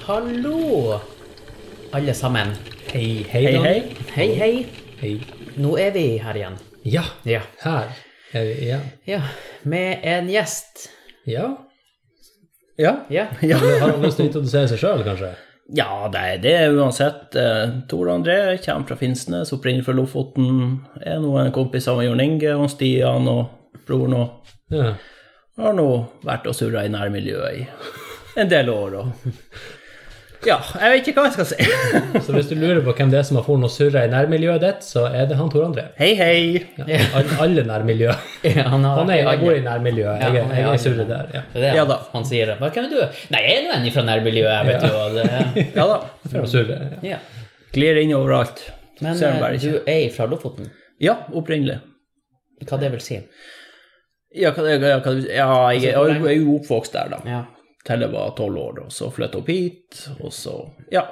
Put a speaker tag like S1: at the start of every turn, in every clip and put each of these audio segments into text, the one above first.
S1: Hallo, alle sammen.
S2: Hei,
S1: Hei,
S2: Dan.
S1: hei. Hei, hei.
S2: Hei.
S1: Nå er vi her igjen.
S2: Ja,
S1: Ja.
S2: her er vi igjen.
S1: ja. Med en gjest.
S2: Ja. Ja.
S1: Ja.
S2: ja. Har han lyst til å introdusere seg sjøl, kanskje?
S3: Ja, nei, det er uansett. eh, Tor André kommer fra Finnsnes, opprinnelig fra Lofoten. Er nå en kompis av Jørn Inge og Stian og broren og
S2: Ja.
S3: har nå vært og surra i nærmiljøet i en del år. Og... Ja, jeg vet ikke hva jeg skal si.
S2: Så hvis du lurer på hvem det er som har foren og surra i nærmiljøet ditt, så er det han Tor André.
S3: Hei, hei.
S2: Ja. Alle, alle nærmiljø.
S1: Han, har vært
S2: Han
S1: i
S2: er, jeg
S1: alle.
S2: bor i nærmiljøet.
S1: Ja,
S2: Jeg,
S1: han er
S2: er- jeg
S1: alle.
S2: er surrer der. Ja.
S1: Det er det
S3: Ja da.
S1: Han sier Hva kan du? Nei, jeg er nå en fra nærmiljøet, vet du. Og det,
S3: Ja da.
S2: For å surre, ja.
S1: ja.
S3: Glir inn overalt.
S1: Men
S3: Ser han bare
S1: eh,
S3: ikke.
S1: du er fra Lofoten.
S3: Ja, opprinnelig.
S1: Hva det vil si?
S3: Ja, hva, ja, hva, ja
S1: Altså,
S3: jeg, jeg, jeg er jo oppvokst der, da.
S1: Ja.
S3: til jeg var tolv år, og så flytta opp hit, og så, ja,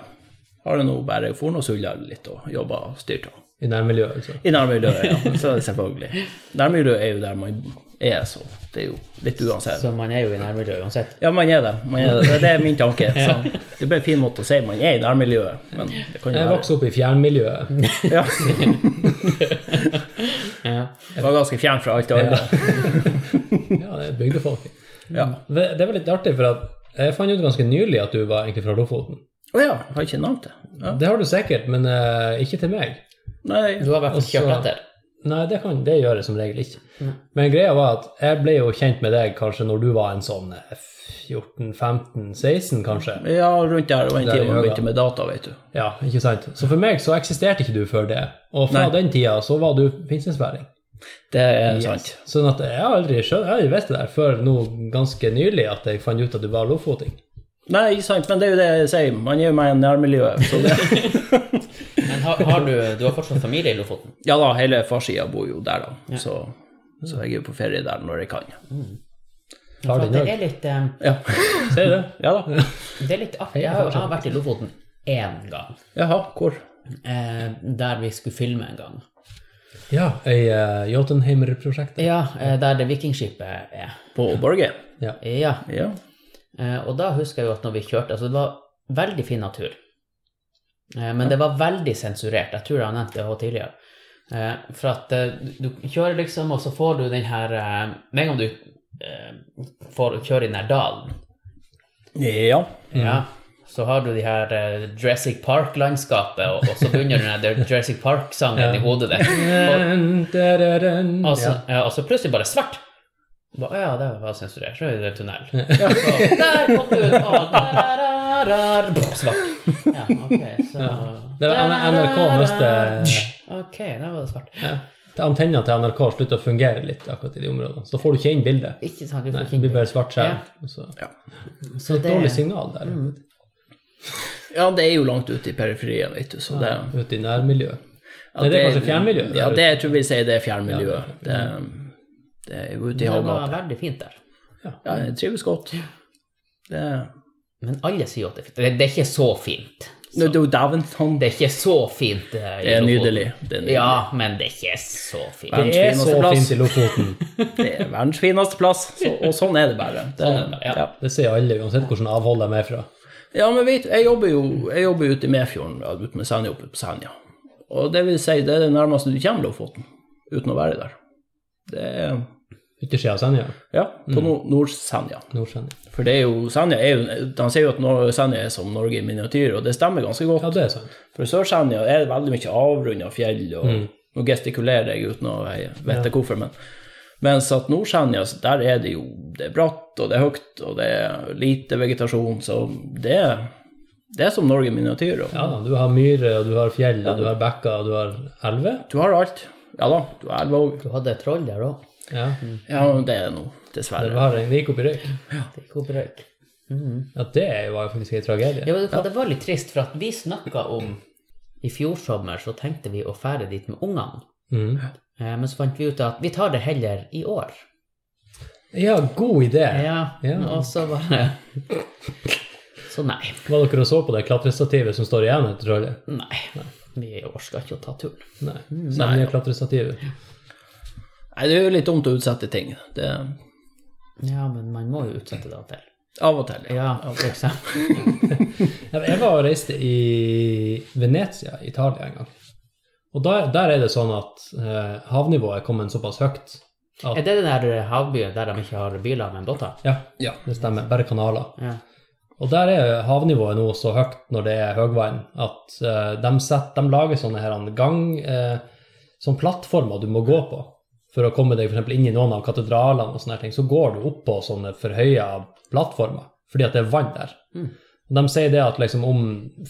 S3: har jeg nå bare foren og sulla litt og jobba styrt av.
S2: I nærmiljøet, altså.
S3: I nærmiljøet, ja, så selvfølgelig. Nærmiljøet er jo der man er, så det er jo litt uansett.
S1: Så man er jo i nærmiljøet uansett.
S3: Ja, man er det. Man er det. det er min tanke. Så det blir en fin måte å si man er i nærmiljøet, men det kan jo
S2: Jeg
S3: være
S2: vokste opp i fjernmiljøet.
S3: ja,
S1: Ja.
S3: Det var ganske fjern fra alt det andre.
S2: Ja, det er bygdefolk.
S3: Ja.
S2: Det det var litt artig, for at jeg fant ut ganske nylig at du var egentlig fra Lofoten.
S3: Å ja, har ikke navn til. Ja.
S2: Det har du sikkert, men eh, ikke til meg.
S3: Nei.
S1: Du har vært på
S2: Og så-
S1: kjøpeter.
S2: Nei, det, kan, det gjør jeg som regel ikke. Men greia var at jeg ble jo kjent med deg kanskje når du var en sånn 14-15-16, kanskje.
S3: Ja, rundt der var en
S2: Der i
S3: tid man
S2: Høga.
S3: begynte med data, vet du.
S2: Ja, ikke sant? Så for meg så eksisterte ikke du før det. Og fra
S3: Nei.
S2: den tida så var du finnsnesværing.
S3: Det er sant.
S2: Sånn at jeg har aldri skjønt, jeg har aldri visst det der før nå ganske nylig at jeg fant ut at du var lofoting.
S3: Nei, ikke sant, men det er jo det jeg sier. Man er jo meg i nærmiljøet, så det
S1: Men har, har du, du har fortsatt familie i Lofoten?
S3: Ja da, hele farssida bor jo der, da. Så, så jeg er jo på ferie der når jeg kan.
S2: Har
S1: For
S2: du
S1: at det
S2: nød?
S1: er litt, eh,
S3: Ja,
S2: Sier du det?
S3: ja da.
S1: det er litt artig. Jeg har, jeg har vært i Lofoten én gang.
S3: Jaha, hvor?
S1: eh, der vi skulle filme en gang.
S2: Ja, i eh, Jotunheimer-prosjektet.
S1: Ja, eh, der det vikingskipet er.
S3: På Borge?
S2: Ja.
S1: Ja,
S3: Ja.
S1: eh, og da husker jeg jo at når vi kjørte, altså det var veldig fin natur. Eh, men det var veldig sensurert, jeg tror jeg har nevnt det også tidligere. Eh, for at eh, du du kjører liksom, og så får du den her, eh, med en gang du eh, får kjøre i den her dalen,
S3: ja.
S1: Ja, så har du de her eh, Jurassic Park-landskapet, og, og så begynner den her Jurassic Park-sangen i hodet ditt. Og, og, så,
S2: Altså,
S1: ja, og så plutselig bare svart. Ba, «Å ja, det var sensurert. Så er det tunnel. Så, der kom du ut! Og da-da-da-da, svart. Ja, ok, så
S2: Det var NRK neste
S1: Ok, da var det svart.
S2: Ja. Antenna til NRK slutter å fungere litt akkurat i de områdene. Så får du ikke inn bildet.
S1: Ikke sant, du
S2: Nei,
S1: får
S2: det blir
S1: ikke
S2: bare svart skjerm. Så,
S3: Ja.
S2: så
S1: det-
S2: dårlig signal der
S3: ja, det er jo langt ute i periferien, vet du, så det ja,
S2: ute i nærmiljøet. Nei, det er kanskje fjernmiljøet?
S3: Ja,
S2: der
S3: det
S2: ute.
S3: jeg tror vi sier det er fjernmiljøet. Det, det er jo ute i
S1: Det var
S3: havgapet.
S1: veldig fint der.
S3: Ja, jeg trives godt. Det,
S1: Men alle sier jo at det er fint. Det, det er ikke så fint.
S3: Nå, det er jo dæven sånn.
S1: Det er ikke så fint. eh, i
S3: Det er
S1: Lofoten.
S3: nydelig. Det er, nydelig.
S1: Ja, men det er ikke så fint.
S3: Men-
S2: Det er så
S3: Fineste plass.
S2: fint i Lofoten.
S3: det er verdens fineste plass, så, og sånn er det bare. Det,
S1: Sånn er det, ja.
S3: ja.
S2: Det sier alle, uansett hvordan avhold de er fra.
S3: Ja, men vet, du, jeg jobber jo jeg jobber ute i Medfjorden, ja, ute med Senja, oppe på Senja. Og det vil si, det er det nærmeste du kommer Lofoten, uten å være der. Det er,
S2: Yttersida av Senja.
S3: ja, på Nord- Nord-Senja.
S2: Nordsenja.
S3: For det er jo, Senja er jo, han sier jo at Nor- Senja er som Norge i miniatyr, og det stemmer ganske godt.
S2: Ja, det er sant.
S3: For Sør-Senja er det veldig mye avrunda fjell, og nå gestikulerer jeg uten å jeg vet hvorfor, men mens at Nord-Senja, så der er det jo det er bratt, og det er høyt, og det er lite vegetasjon, så det, er- det er som Norge i miniatyr. Og
S2: Ja da, du har myrer, og du har fjell, og du har bekker, og du har elver.
S3: du har alt. Ja da, du har elva òg.
S1: Du hadde et troll der òg.
S2: Ja.
S3: Ja, men det er det nå,
S2: Du
S3: dessverre.
S2: har en vik oppi røyk.
S1: Det gikk opp i røyk.
S2: Ja, det er jo faktisk en tragedie.
S1: Ja, men vet du hva, det var litt trist, for at vi snakka om I fjor sommer så tenkte vi å fære dit med ungene,
S2: Mm.
S1: Eh, men så fant vi ut at vi tar det heller i år.
S2: Ja, god idé.
S1: Ja,
S2: Ja.
S1: og så bare Så nei.
S2: Var dere og så på det klatrestativet som står igjen etter trollet?
S1: Nei. Vi orka ikke å ta turen.
S2: Nei. Semje klatrestativet.
S3: Nei, det er jo litt dumt å utsette ting. Det,
S1: Ja, men man må jo utsette det av og til.
S3: Av og til.
S1: Ja, for eksempel.
S2: Ja, men Jeg var og reiste i Venezia, Italia, en gang. Og der, der er det sånn at eh, havnivået er kommet såpass høyt at
S1: Er det den der havbyen der de ikke har biler, men båter?
S2: Ja,
S3: Ja.
S2: det stemmer. Bare kanaler.
S1: Ja.
S2: Og der er havnivået nå så høyt når det er høgvann, at eh, de, set- de lager sånne her en gang, eh, sånn plattformer du må gå på for å komme deg for eksempel inn i noen av katedralene og sånne her ting. Så går du opp på sånne forhøya plattformer fordi at det er vann der.
S1: Mm.
S2: Og De sier det at liksom om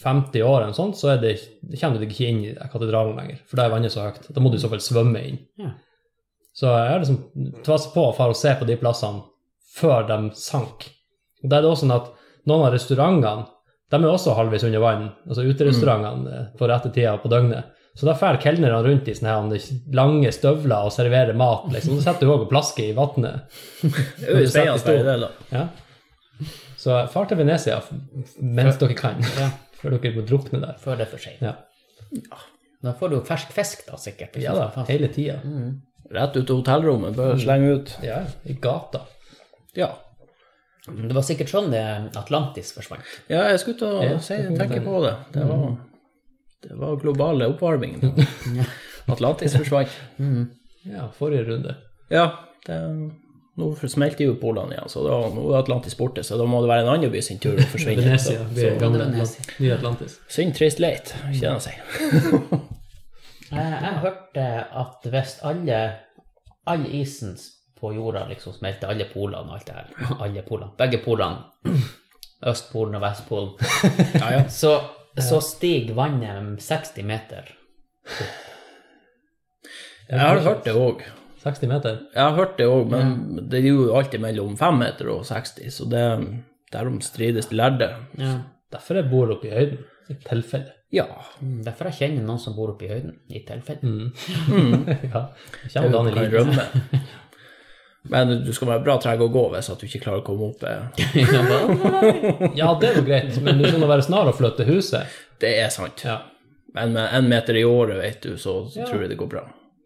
S2: 50 år eller sånt, så er det, kommer du deg ikke inn i katedralen lenger, for da er vannet så høyt. Da må du i så fall svømme inn.
S1: Ja.
S2: Så jeg har liksom tvasset på for å se på de plassene før de sank. Og da er det også sånn at noen av restaurantene de er også halvveis under vann, altså
S3: Mm.
S2: uterestaurantene eh, på rette tida på døgnet. Så da drar kelnerne rundt i sånne her lange støvler og serverer mat. liksom. Så setter du òg og plasker i vannet.
S3: Det er jo
S2: Sett i
S3: spennende
S2: stol.
S3: det, da.
S2: Ja. Så far til Venezia f- mens dere kan,
S1: Ja.
S2: før dere må drukne der.
S1: Før det er for sent.
S2: Ja,
S1: Da får du jo fersk fisk, da, sikkert.
S2: ja da, hele tida.
S3: Rett ut til hotellrommet, bare slenge ut.
S2: Ja, I gata.
S3: Mm. Ja.
S1: Det var sikkert sånn det Atlantis forsvant.
S3: Ja, Mm. jeg skulle ta
S2: Ja,
S3: si,
S2: det kan
S3: tenke
S2: hende.
S3: på det. Det var, det var globale oppvarmingen. Atlantis forsvant.
S2: Ja, forrige runde.
S3: Ja, det, nå smelter jo polene igjen, så da, nå er Atlantis borte, så da må det være en annen by sin tur å forsvinne.
S2: Venezia blir gamle
S1: Venezia.
S2: Atlant- nye Atlantis.
S3: Synd, trist, leit, kjenner jeg seg.
S1: Jeg, Eh, jeg hørte at hvis alle all isen på jorda liksom smelter, alle polene og alt det her Alle polene. Begge polene. Østpolen og Vestpolen. Så, så stiger vannet 60 meter.
S3: Jeg har hørt det òg.
S2: 60 meter.
S3: Jeg har hørt det òg, men det er jo alltid mellom 5 meter og 60, så det derom strides de lærde.
S1: Ja.
S2: Derfor jeg bor oppe i høyden, i tilfelle.
S3: Ja.
S1: Mm, Derfor jeg kjenner noen som bor oppe i høyden, i tilfelle.
S2: ja. det
S3: Du
S2: Kommer
S3: kan
S2: Daniel hit?
S3: rømme. Men du skal være bra treg å gå hvis at du ikke klarer å komme opp. eh.
S2: Ja, det er jo greit, men du skal nå være snar å flytte huset.
S3: Det er sant.
S2: Ja,
S3: Men med en meter i året, vet du, så, så
S2: Ja.
S3: tror jeg det går bra.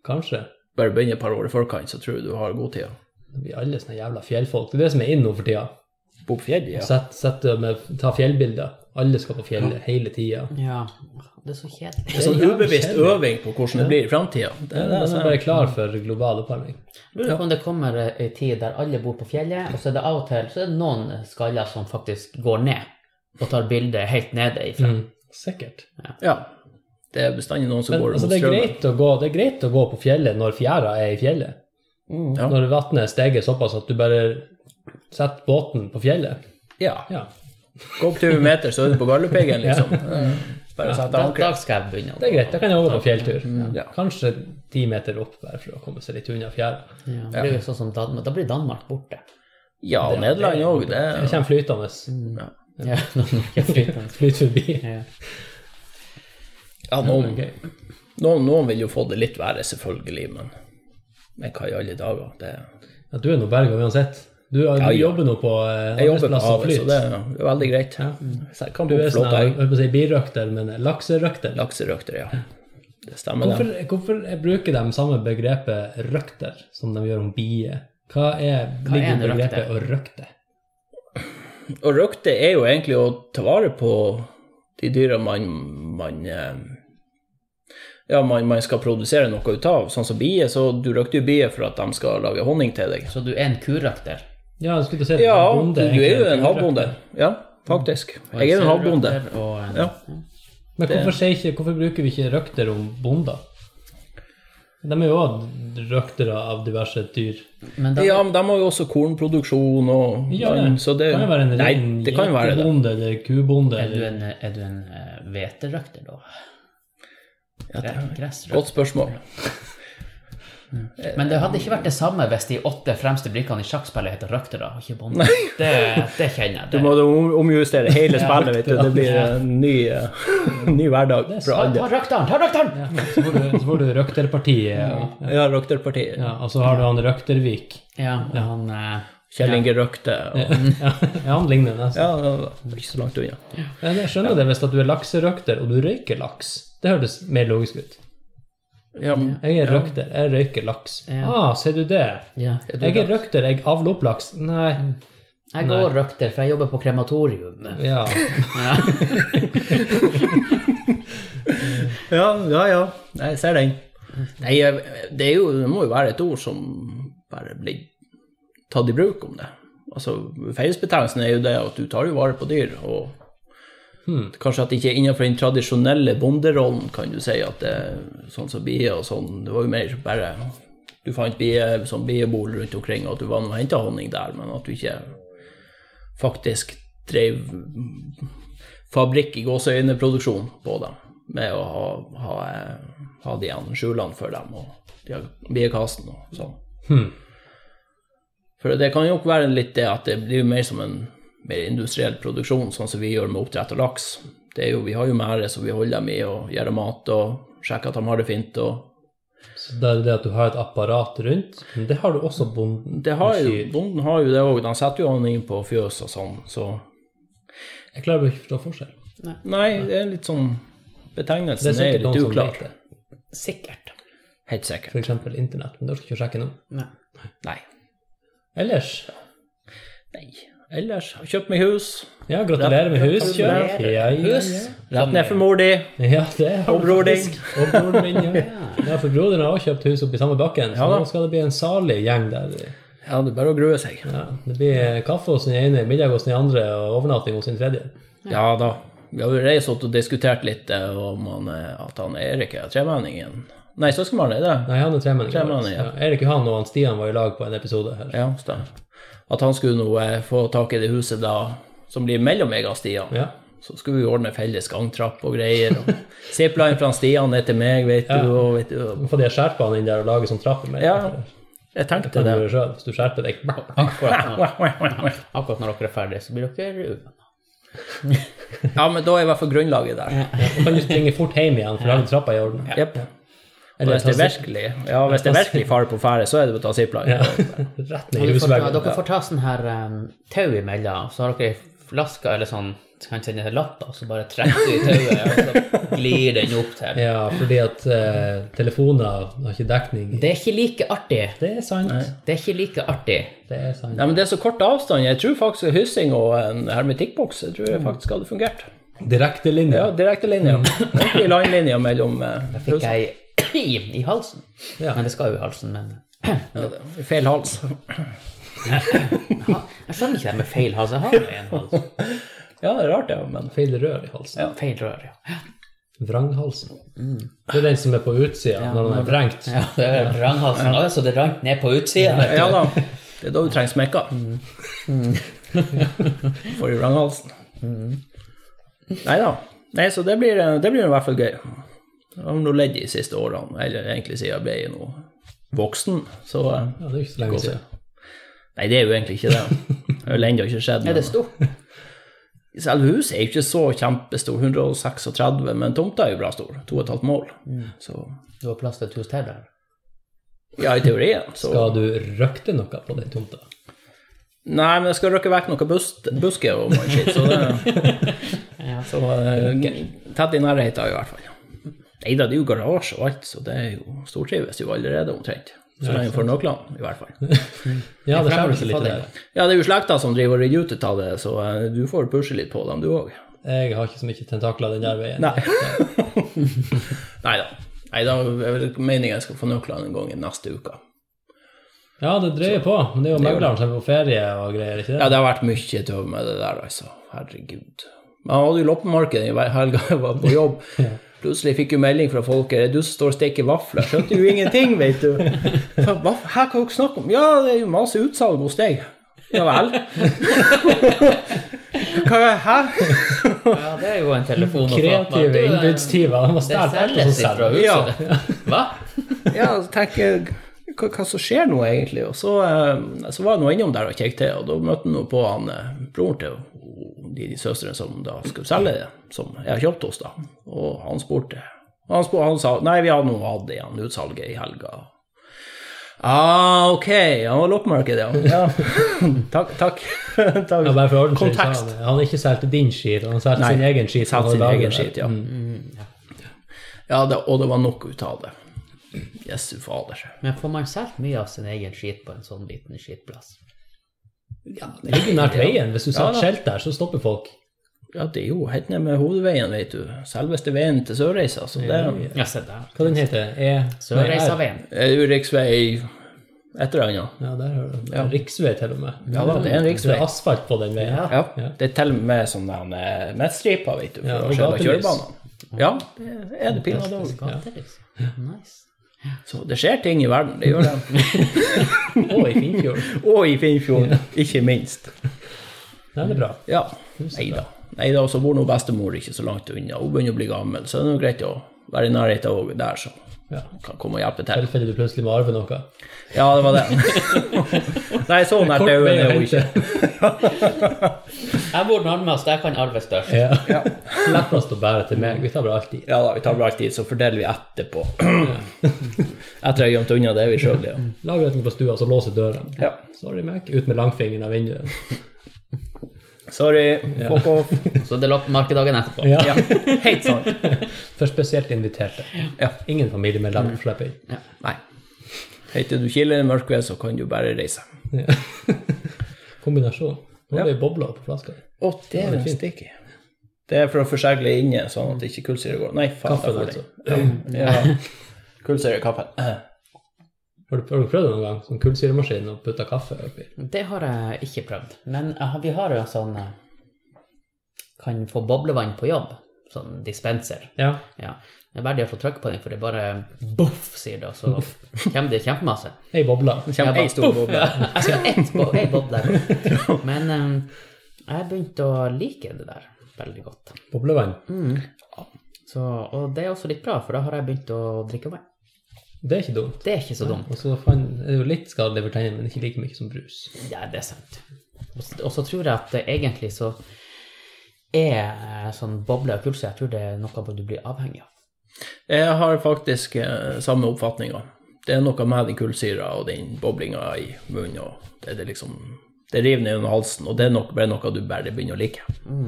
S2: kanskje.
S3: Bare begynne et par år i forkant, så tror jeg du har god tid.
S2: Da blir alle sånne jævla fjellfolk. Det er det som er inn nå for tida.
S3: Bo på fjellet, ja.
S2: Sett, sett det med, ta fjellbilder. Alle skal på fjellet hele tida.
S1: Ja. Det er så kjedelig.
S3: Det er sånn ubevisst øving på hvordan det blir i framtida. Det er
S2: De
S3: det
S2: er
S3: som er
S2: bare klar for global oppvarming.
S1: Jeg Lurer på om det kommer ei tid der alle bor på fjellet, og så er det av og til så er det noen skaller som faktisk går ned og tar bilde helt nede ifra.
S3: Mm.
S2: Sikkert.
S3: Ja. Det er bestandig noen som
S2: Men
S3: går
S2: altså,
S3: mot
S2: det, er
S3: strømmen.
S2: greit å gå, det er greit å gå på fjellet når fjæra er i fjellet.
S3: Ja.
S2: Når vannet steger såpass at du bare setter båten på fjellet.
S3: Ja.
S2: Ja.
S3: Gå opp 20 meter, så er du på Galdhøpiggen, liksom. Bare sette
S1: Da, da
S3: ankeret.
S1: skal jeg begynne. å
S2: Det er
S1: gå.
S2: greit, da kan jeg over på fjelltur.
S3: Ja.
S2: Kanskje ti meter opp, bare for å komme seg litt unna fjæra.
S1: Ja, det blir jo sånn som Dan da blir Danmark borte.
S3: Ja, og Nederland òg. Det Mm,
S2: Det kommer flytende.
S3: ja.
S1: Ja, Danmark er flytende.
S2: Flyt forbi.
S1: Ja.
S3: ja, noen,
S2: Ok.
S3: noen, noen vil jo få det litt verre, selvfølgelig, men men hva i alle dager? Det,
S2: Ja, du er nå berga uansett. Du, du
S3: ja.
S2: jobber nå på eh,
S3: jeg jobber på
S2: arbeidsplass som
S3: havet, så
S2: flyt.
S3: det, det er veldig greit. Så jeg kan
S2: Du
S3: bo
S2: er
S3: på
S2: sånn,
S3: flåta.
S2: jeg
S3: jeg.
S2: holdt på å si birøkter, men lakserøkter.
S3: Lakserøkter, ja. Det stemmer, det.
S2: Hvorfor, hvorfor bruker de samme begrepet røkter som de gjør om bie? Hva er, ligger
S1: en
S2: i begrepet
S1: røkter?
S2: å røkte?
S3: Og røkte er jo egentlig å ta vare på de dyra man, man eh, Ja, man, man skal produsere noe ut av. Sånn som bier, så du røkter jo bier for at de skal lage honning til deg.
S1: Så du er en kurøkter?
S2: Ja, jeg skulle til å si
S3: Ja,
S2: bonde er
S3: du er
S2: egentlig
S3: jo en
S2: kurøkter.
S3: havbonde. Ja, faktisk. Jeg er jo en havbonde.
S1: Kurøkter Og en,
S3: Ja.
S2: Men hvorfor, sier ikke, hvorfor bruker vi ikke røkter om bonder? De er jo også røktere av diverse dyr.
S1: Men da,
S3: Ja, men de har jo også kornproduksjon og sånn,
S2: Ja, det
S3: så det,
S2: kan jo være en
S3: Nei,
S2: ren
S3: det kan jo være det.
S2: geitebonde eller kubonde.
S1: er du
S2: Eller,
S1: en, er du en eh, hveterøkter, da?
S3: Ja, det
S1: Gre- Gressrøkter?
S3: Godt spørsmål.
S1: Men det hadde ikke vært det samme hvis de åtte fremste brikkene i sjakkspillet heter røktere og ikke bonde. Det, det kjenner jeg.
S3: Du
S1: Det.
S3: må om- omjustere hele spillet, vet du. Det blir en ny, eh, ny hverdag fra
S1: Ta,
S3: alle.
S1: ta røkteren! Ta røkteren!
S2: så får du, så får du røkterpartiet. og-
S3: Ja, Røkterpartiet.
S2: Ja, og så har du han Røktervik.
S1: Ja, og han eh,
S3: Kjell Inge Røkte. Og,
S2: Ja, han ligner nesten.
S3: ja, det var ikke så langt unna.
S2: Men Jeg skjønner det hvis at du er lakserøkter og du røyker laks. Det høres mer logisk ut.
S3: Ja,
S2: Jeg er røkter, jeg røyker laks.
S1: Ja.
S2: Ah, ser du det?
S1: ja.
S2: Jeg er røkter, jeg avler opp laks. Nei.
S1: Jeg går røkter, for jeg jobber på krematorium.
S2: Ja.
S1: Ja.
S3: Ja, ja, ja. Jeg ser den. Nei, jeg- det, er jo, det må jo være et ord som bare blir tatt i bruk om det. Altså, Fellesbetegnelsen er jo det at du tar jo vare på dyr, og kanskje at det ikke er innenfor den tradisjonelle bonderollen, kan du si, at det er sånn som bier og sånn. Det var jo mer bare Du fant bier som biebol rundt omkring, og at du var nå og henta honning der, men at du ikke faktisk drev fabrikk i gåseøyneproduksjon på dem, med å ha, ha, eh, ha de her skjulene for dem og de her biekassen og sånn.
S2: Hmm.
S3: For det kan jo ikke være litt det at det blir jo mer som en mer industriell produksjon, sånn som vi gjør med oppdrett av laks. Det er jo, vi har jo merder som vi holder dem i og gir dem mat og sjekker at de har det fint. og
S2: Så det er det at du har et apparat rundt, men det har du også bonden
S3: det har jo,
S2: kyr.
S3: Bonden har jo det òg. De setter jo han inn på fjøs og sånn. så...
S2: Jeg klarer bare ikke å forstå forskjell.
S3: Nei, det er litt sånn
S2: Det
S3: Betegnelsen
S2: er
S3: er,
S2: sikkert
S3: litt
S2: noen som
S3: uklar.
S2: vet det.
S1: Sikkert.
S3: Helt sikkert.
S2: F.eks. internett, men det orker jeg ikke å sjekke nå.
S1: Nei.
S3: Nei.
S2: Ellers,
S3: Nei. Ellers, jeg har kjøpt meg hus.
S2: ja, gratulerer med huskjøp.
S1: Gratulerer.
S2: Ja, ja,
S1: Hus.
S2: ja.
S3: Rett ned for mor di.
S2: Ja, det har
S3: Og
S2: du
S3: bror din.
S2: faktisk. Og broren min, ja. ja. For broren har også kjøpt hus oppe i samme bakken, så
S3: Ja da.
S2: nå skal det bli en salig gjeng der.
S3: Ja, det er bare å grue seg.
S2: Ja, det blir kaffe hos den ene, middag hos den andre og overnatting hos den tredje.
S3: Ja da. Vi har jo reist og diskutert litt eh, om han, eh, at han Erik er tremenningen. Nei, søskenbarnet er det.
S2: Nei, han er tremenning.
S3: Tremenning, ja.
S2: ja. Erik Johan og han Stian var i lag på en episode her.
S3: Ja, stemmer. At han skulle nå eh, få tak i det huset da, som blir mellom meg og Stian.
S2: Ja.
S3: Så skulle vi ordne felles gangtrapp og greier. og Zipline fra Stian ned til meg, vet du. Og, vet du og,
S2: Få de skjerpene inn der og lage sånn trappe med.
S3: ja, jeg tenkte
S2: Kan du
S3: det.
S2: gjøre selv, Hvis du skjerper deg.
S1: Akkurat når, akkurat når dere er ferdige, så blir dere uvenner.
S3: Ja, men da er i hvert fall grunnlaget der.
S2: Da kan du springe fort hjem igjen, for da er den trappa i orden.
S3: Jepp. Og
S2: Eller
S3: hvis det er
S2: ta sip-
S3: virkelig, ja, hvis det er virkelig fare på ferde, så er det å ta zipline.
S2: Ja. Rett ned i
S1: Dere får, ta,
S2: husveggen.
S1: dere får ta sånn her um, tau imellom, så har dere ei flaske eller sånn kan sende en lapp, da, og så bare trekker du i tauet, og så glir den opp til.
S2: Ja, fordi at eh, telefoner har ikke dekning.
S1: Det er ikke like artig.
S2: Det er sant.
S1: Det er ikke like artig.
S2: Det er sant.
S3: Nei, men det er så kort avstand. Jeg tror faktisk hyssing og en hermetikkboks jeg tror jeg faktisk hadde fungert.
S2: Direktelinje.
S3: Ja, direktelinja. Ordentlig landlinja mellom eh,
S1: Fikk jeg i, i halsen.
S2: Ja.
S1: Men det skal jo i halsen, men
S3: hus- Feil hals.
S1: Jeg skjønner ikke det med feil hals. Jeg har jo en hals.
S3: Ja, det er rart, det, men
S2: Feil rør i halsen.
S1: Feil rør, ja.
S2: Vranghalsen. Det er den som er på utsida når den er vrengt.
S1: ja det er vranghalsen òg, så altså, det rant ned på utsida. vet du.
S3: Ja da. Det er da du trenger smekka. For i vranghalsen. Nei da. Nei, så det blir, eh, det blir i hvert fall gøy. Jeg har nå ledd de siste årene, eller egentlig siden jeg ble nå voksen. Så eh,
S2: Ja, det er ikke så lenge siden.
S3: Nei, det er jo egentlig ikke det. Det har vel ennå ikke skjedd.
S1: Er
S3: Men
S1: det stort?
S3: selve huset er jo ikke så kjempestor, 136, men tomta er jo bra stor, 2,5 mål. Så
S1: Du har plass til et hus til der?
S3: ja, i teorien, så
S2: Skal du røkte noe på den tomta?
S3: Nei, men jeg skal røkke vekk noe bus busker og mye skitt, så det Så eh, tett i nærheten, i hvert fall. Nei da, det er jo garasje og alt, så det er jo stortrives jo allerede omtrent. Så lenge for nøklene, i hvert fall.
S2: Ja, det skjemmer
S1: fremmer
S2: seg
S1: ikke
S2: litt
S1: for
S2: der.
S3: Ja, det er jo slekta som driver og rydder ut av det, så eh, du får pushe litt på dem, du òg.
S2: Jeg har ikke så mye tentakler den der veien.
S3: Nei. Nei da. Nei, da er vel meningen jeg skal få nøklene en gang i neste uke.
S2: Ja, det drøyer på. Men det er jo megleren som er på ferie og greier, ikke
S3: Ja,
S2: det?
S3: det har vært mye tøv med det der, altså. Herregud. Men Jeg hadde jo loppemarked i hver helga jeg var på jobb. Plutselig fikk jeg melding fra folket du som står og steker vafler. Jeg Skjønte jo ingenting, vet du. Så, Hva, her kan dere snakke om? Ja, det er jo masse utsalg hos deg. Ja vel. Hva er Hæ?
S1: Ja, det er jo en telefon å prate med.
S2: Kreative altså. innbruddstyver. De har
S1: Det
S2: stjålet alt
S1: selges
S2: som
S1: ifra
S2: selger.
S3: Ja.
S1: huset. Hva?
S3: Ja, så tenker jeg hva, hva som skjer nå, egentlig? Og så, eh, så var jeg nå innom der og kjekket til, og da møtte jeg nå på han eh, broren til ho- de, de søstrene som da skulle selge det, som jeg har kjøpt hos, da. Og han spurte. Han, spurte, han sa nei, vi har nå hatt igjen utsalget i helga. Ah, ok. Ja, loppemarked, ja. ja. takk, takk.
S2: Ja,
S3: takk.
S2: bare for ordens skyld, så
S3: Kontekst.
S2: han- Han har ikke solgt din skit, han har solgt
S3: Nei,
S2: sin egen skit.
S3: Satt
S2: Han
S3: sin
S2: har laget
S3: egen
S2: det. Mm.
S3: skit, ja. Ja, det, og det var nok ut av det. Jesu fader.
S1: Men får man solgt mye av sin egen skit på en sånn liten skitplass?
S3: Ja,
S2: Det ligger jo nært veien. Hvis du
S3: Ja,
S2: setter
S3: da.
S2: skilt der, så stopper folk.
S3: Ja, det er jo helt ned med hovedveien, vet du. Selveste veien til Sørreisa. Så det
S2: Ja.
S1: Ja, se der.
S2: Hva den heter den? E... nei, R.
S1: Sørreisaveien.
S3: er jo riksvei et eller annet.
S2: Ja, der har du ja. Riksvei, til og med.
S3: Ja da, det er en riksvei.
S2: Det er asfalt på den veien.
S3: Ja. Det er til og med sånne eh, midtstriper, vet du,
S2: Ja,
S3: for
S2: og
S3: å skjøle
S2: gatelys.
S3: kjørebanene. Ja, det er det pinadø.
S1: Gatelys. liksom. Nice.
S3: Så det skjer ting i verden, det gjør det.
S2: Og i Finnfjord.
S3: Og i Finnfjorden, ikke minst.
S2: Den er bra.
S3: Ja. Nei da. Nei da, så bor nå bestemor ikke så langt unna. Hun begynner å bli gammel, så det er jo greit å være i nærheten òg der, så
S2: Ja.
S3: hun kan komme og hjelpe til.
S2: Tilfelle du plutselig må arve noe.
S3: Ja, det var det. Nei, så nært
S2: Kort
S3: øynene
S2: vei
S3: er
S2: å
S3: hun ikke.
S2: hente.
S1: Jeg bor nærmest, jeg kan arve størst.
S2: Ja. Lettest å bære til meg. Vi tar bare alt dit.
S3: Ja da, vi tar bare alt dit, så fordeler vi etterpå. Etter jeg har gjemt unna det vi sjøl, ja.
S2: Lager noe på stua, så låser døra.
S3: ja.
S2: Sorry, Mac. Ut med langfingeren av vinduet.
S3: Sorry, fuck off.
S1: Så det er loppemarked dagen etterpå.
S2: Ja.
S3: Ja, helt sant.
S2: For spesielt inviterte.
S3: Ja.
S2: Ingen familiemedlemmer slipper inn.
S3: Nei. Heter du Kile Mørkved, så kan du bare reise.
S2: Kombinasjon. Nå er det bobler på flaska.
S3: Å, det er en sticky. Det er for å forsegle inne, sånn at ikke kullsyre går Nei, faen.
S2: Kaffen,
S3: jeg får
S2: altså.
S3: det. Ja. Kullsyre i kaffen.
S2: Har du, har du prøvd det noen gang? Sånn kullsyremaskin og putta kaffe oppi?
S1: Det har jeg ikke prøvd. Men jeg har- vi har jo sånn eh, Kan få boblevann på jobb. Sånn dispenser.
S2: Ja.
S1: Ja. Det er verdig å få trykk på den, for det bare boff, sier det, og så kommer det kjempemasse.
S2: Ei boble.
S1: Jeg
S3: Kjem
S1: bare,
S3: ei stor
S1: «Puff!»
S3: boble.
S1: Ja, Jeg skal ha Altså, ett bo- ei boble. Men eh, jeg begynte å like det der veldig godt.
S2: Boblevann.
S1: Så, og det er også litt bra, for da har jeg begynt å drikke vann.
S2: Det er ikke dumt.
S1: Det er ikke så dumt.
S2: Og så fan, er det jo litt skadelig for tennene, men ikke like mye som brus.
S1: Ja, det er sant. Og s- Og så tror jeg at eh, egentlig så er eh, sånn boble og kulse, jeg tror det er noe du blir avhengig av.
S3: Jeg har faktisk eh, samme oppfatninga. Det er noe med den kullsyra og den boblinga i munnen. og Det, er det, liksom, det river ned under halsen, og det er nok, bare noe du bare begynner å like.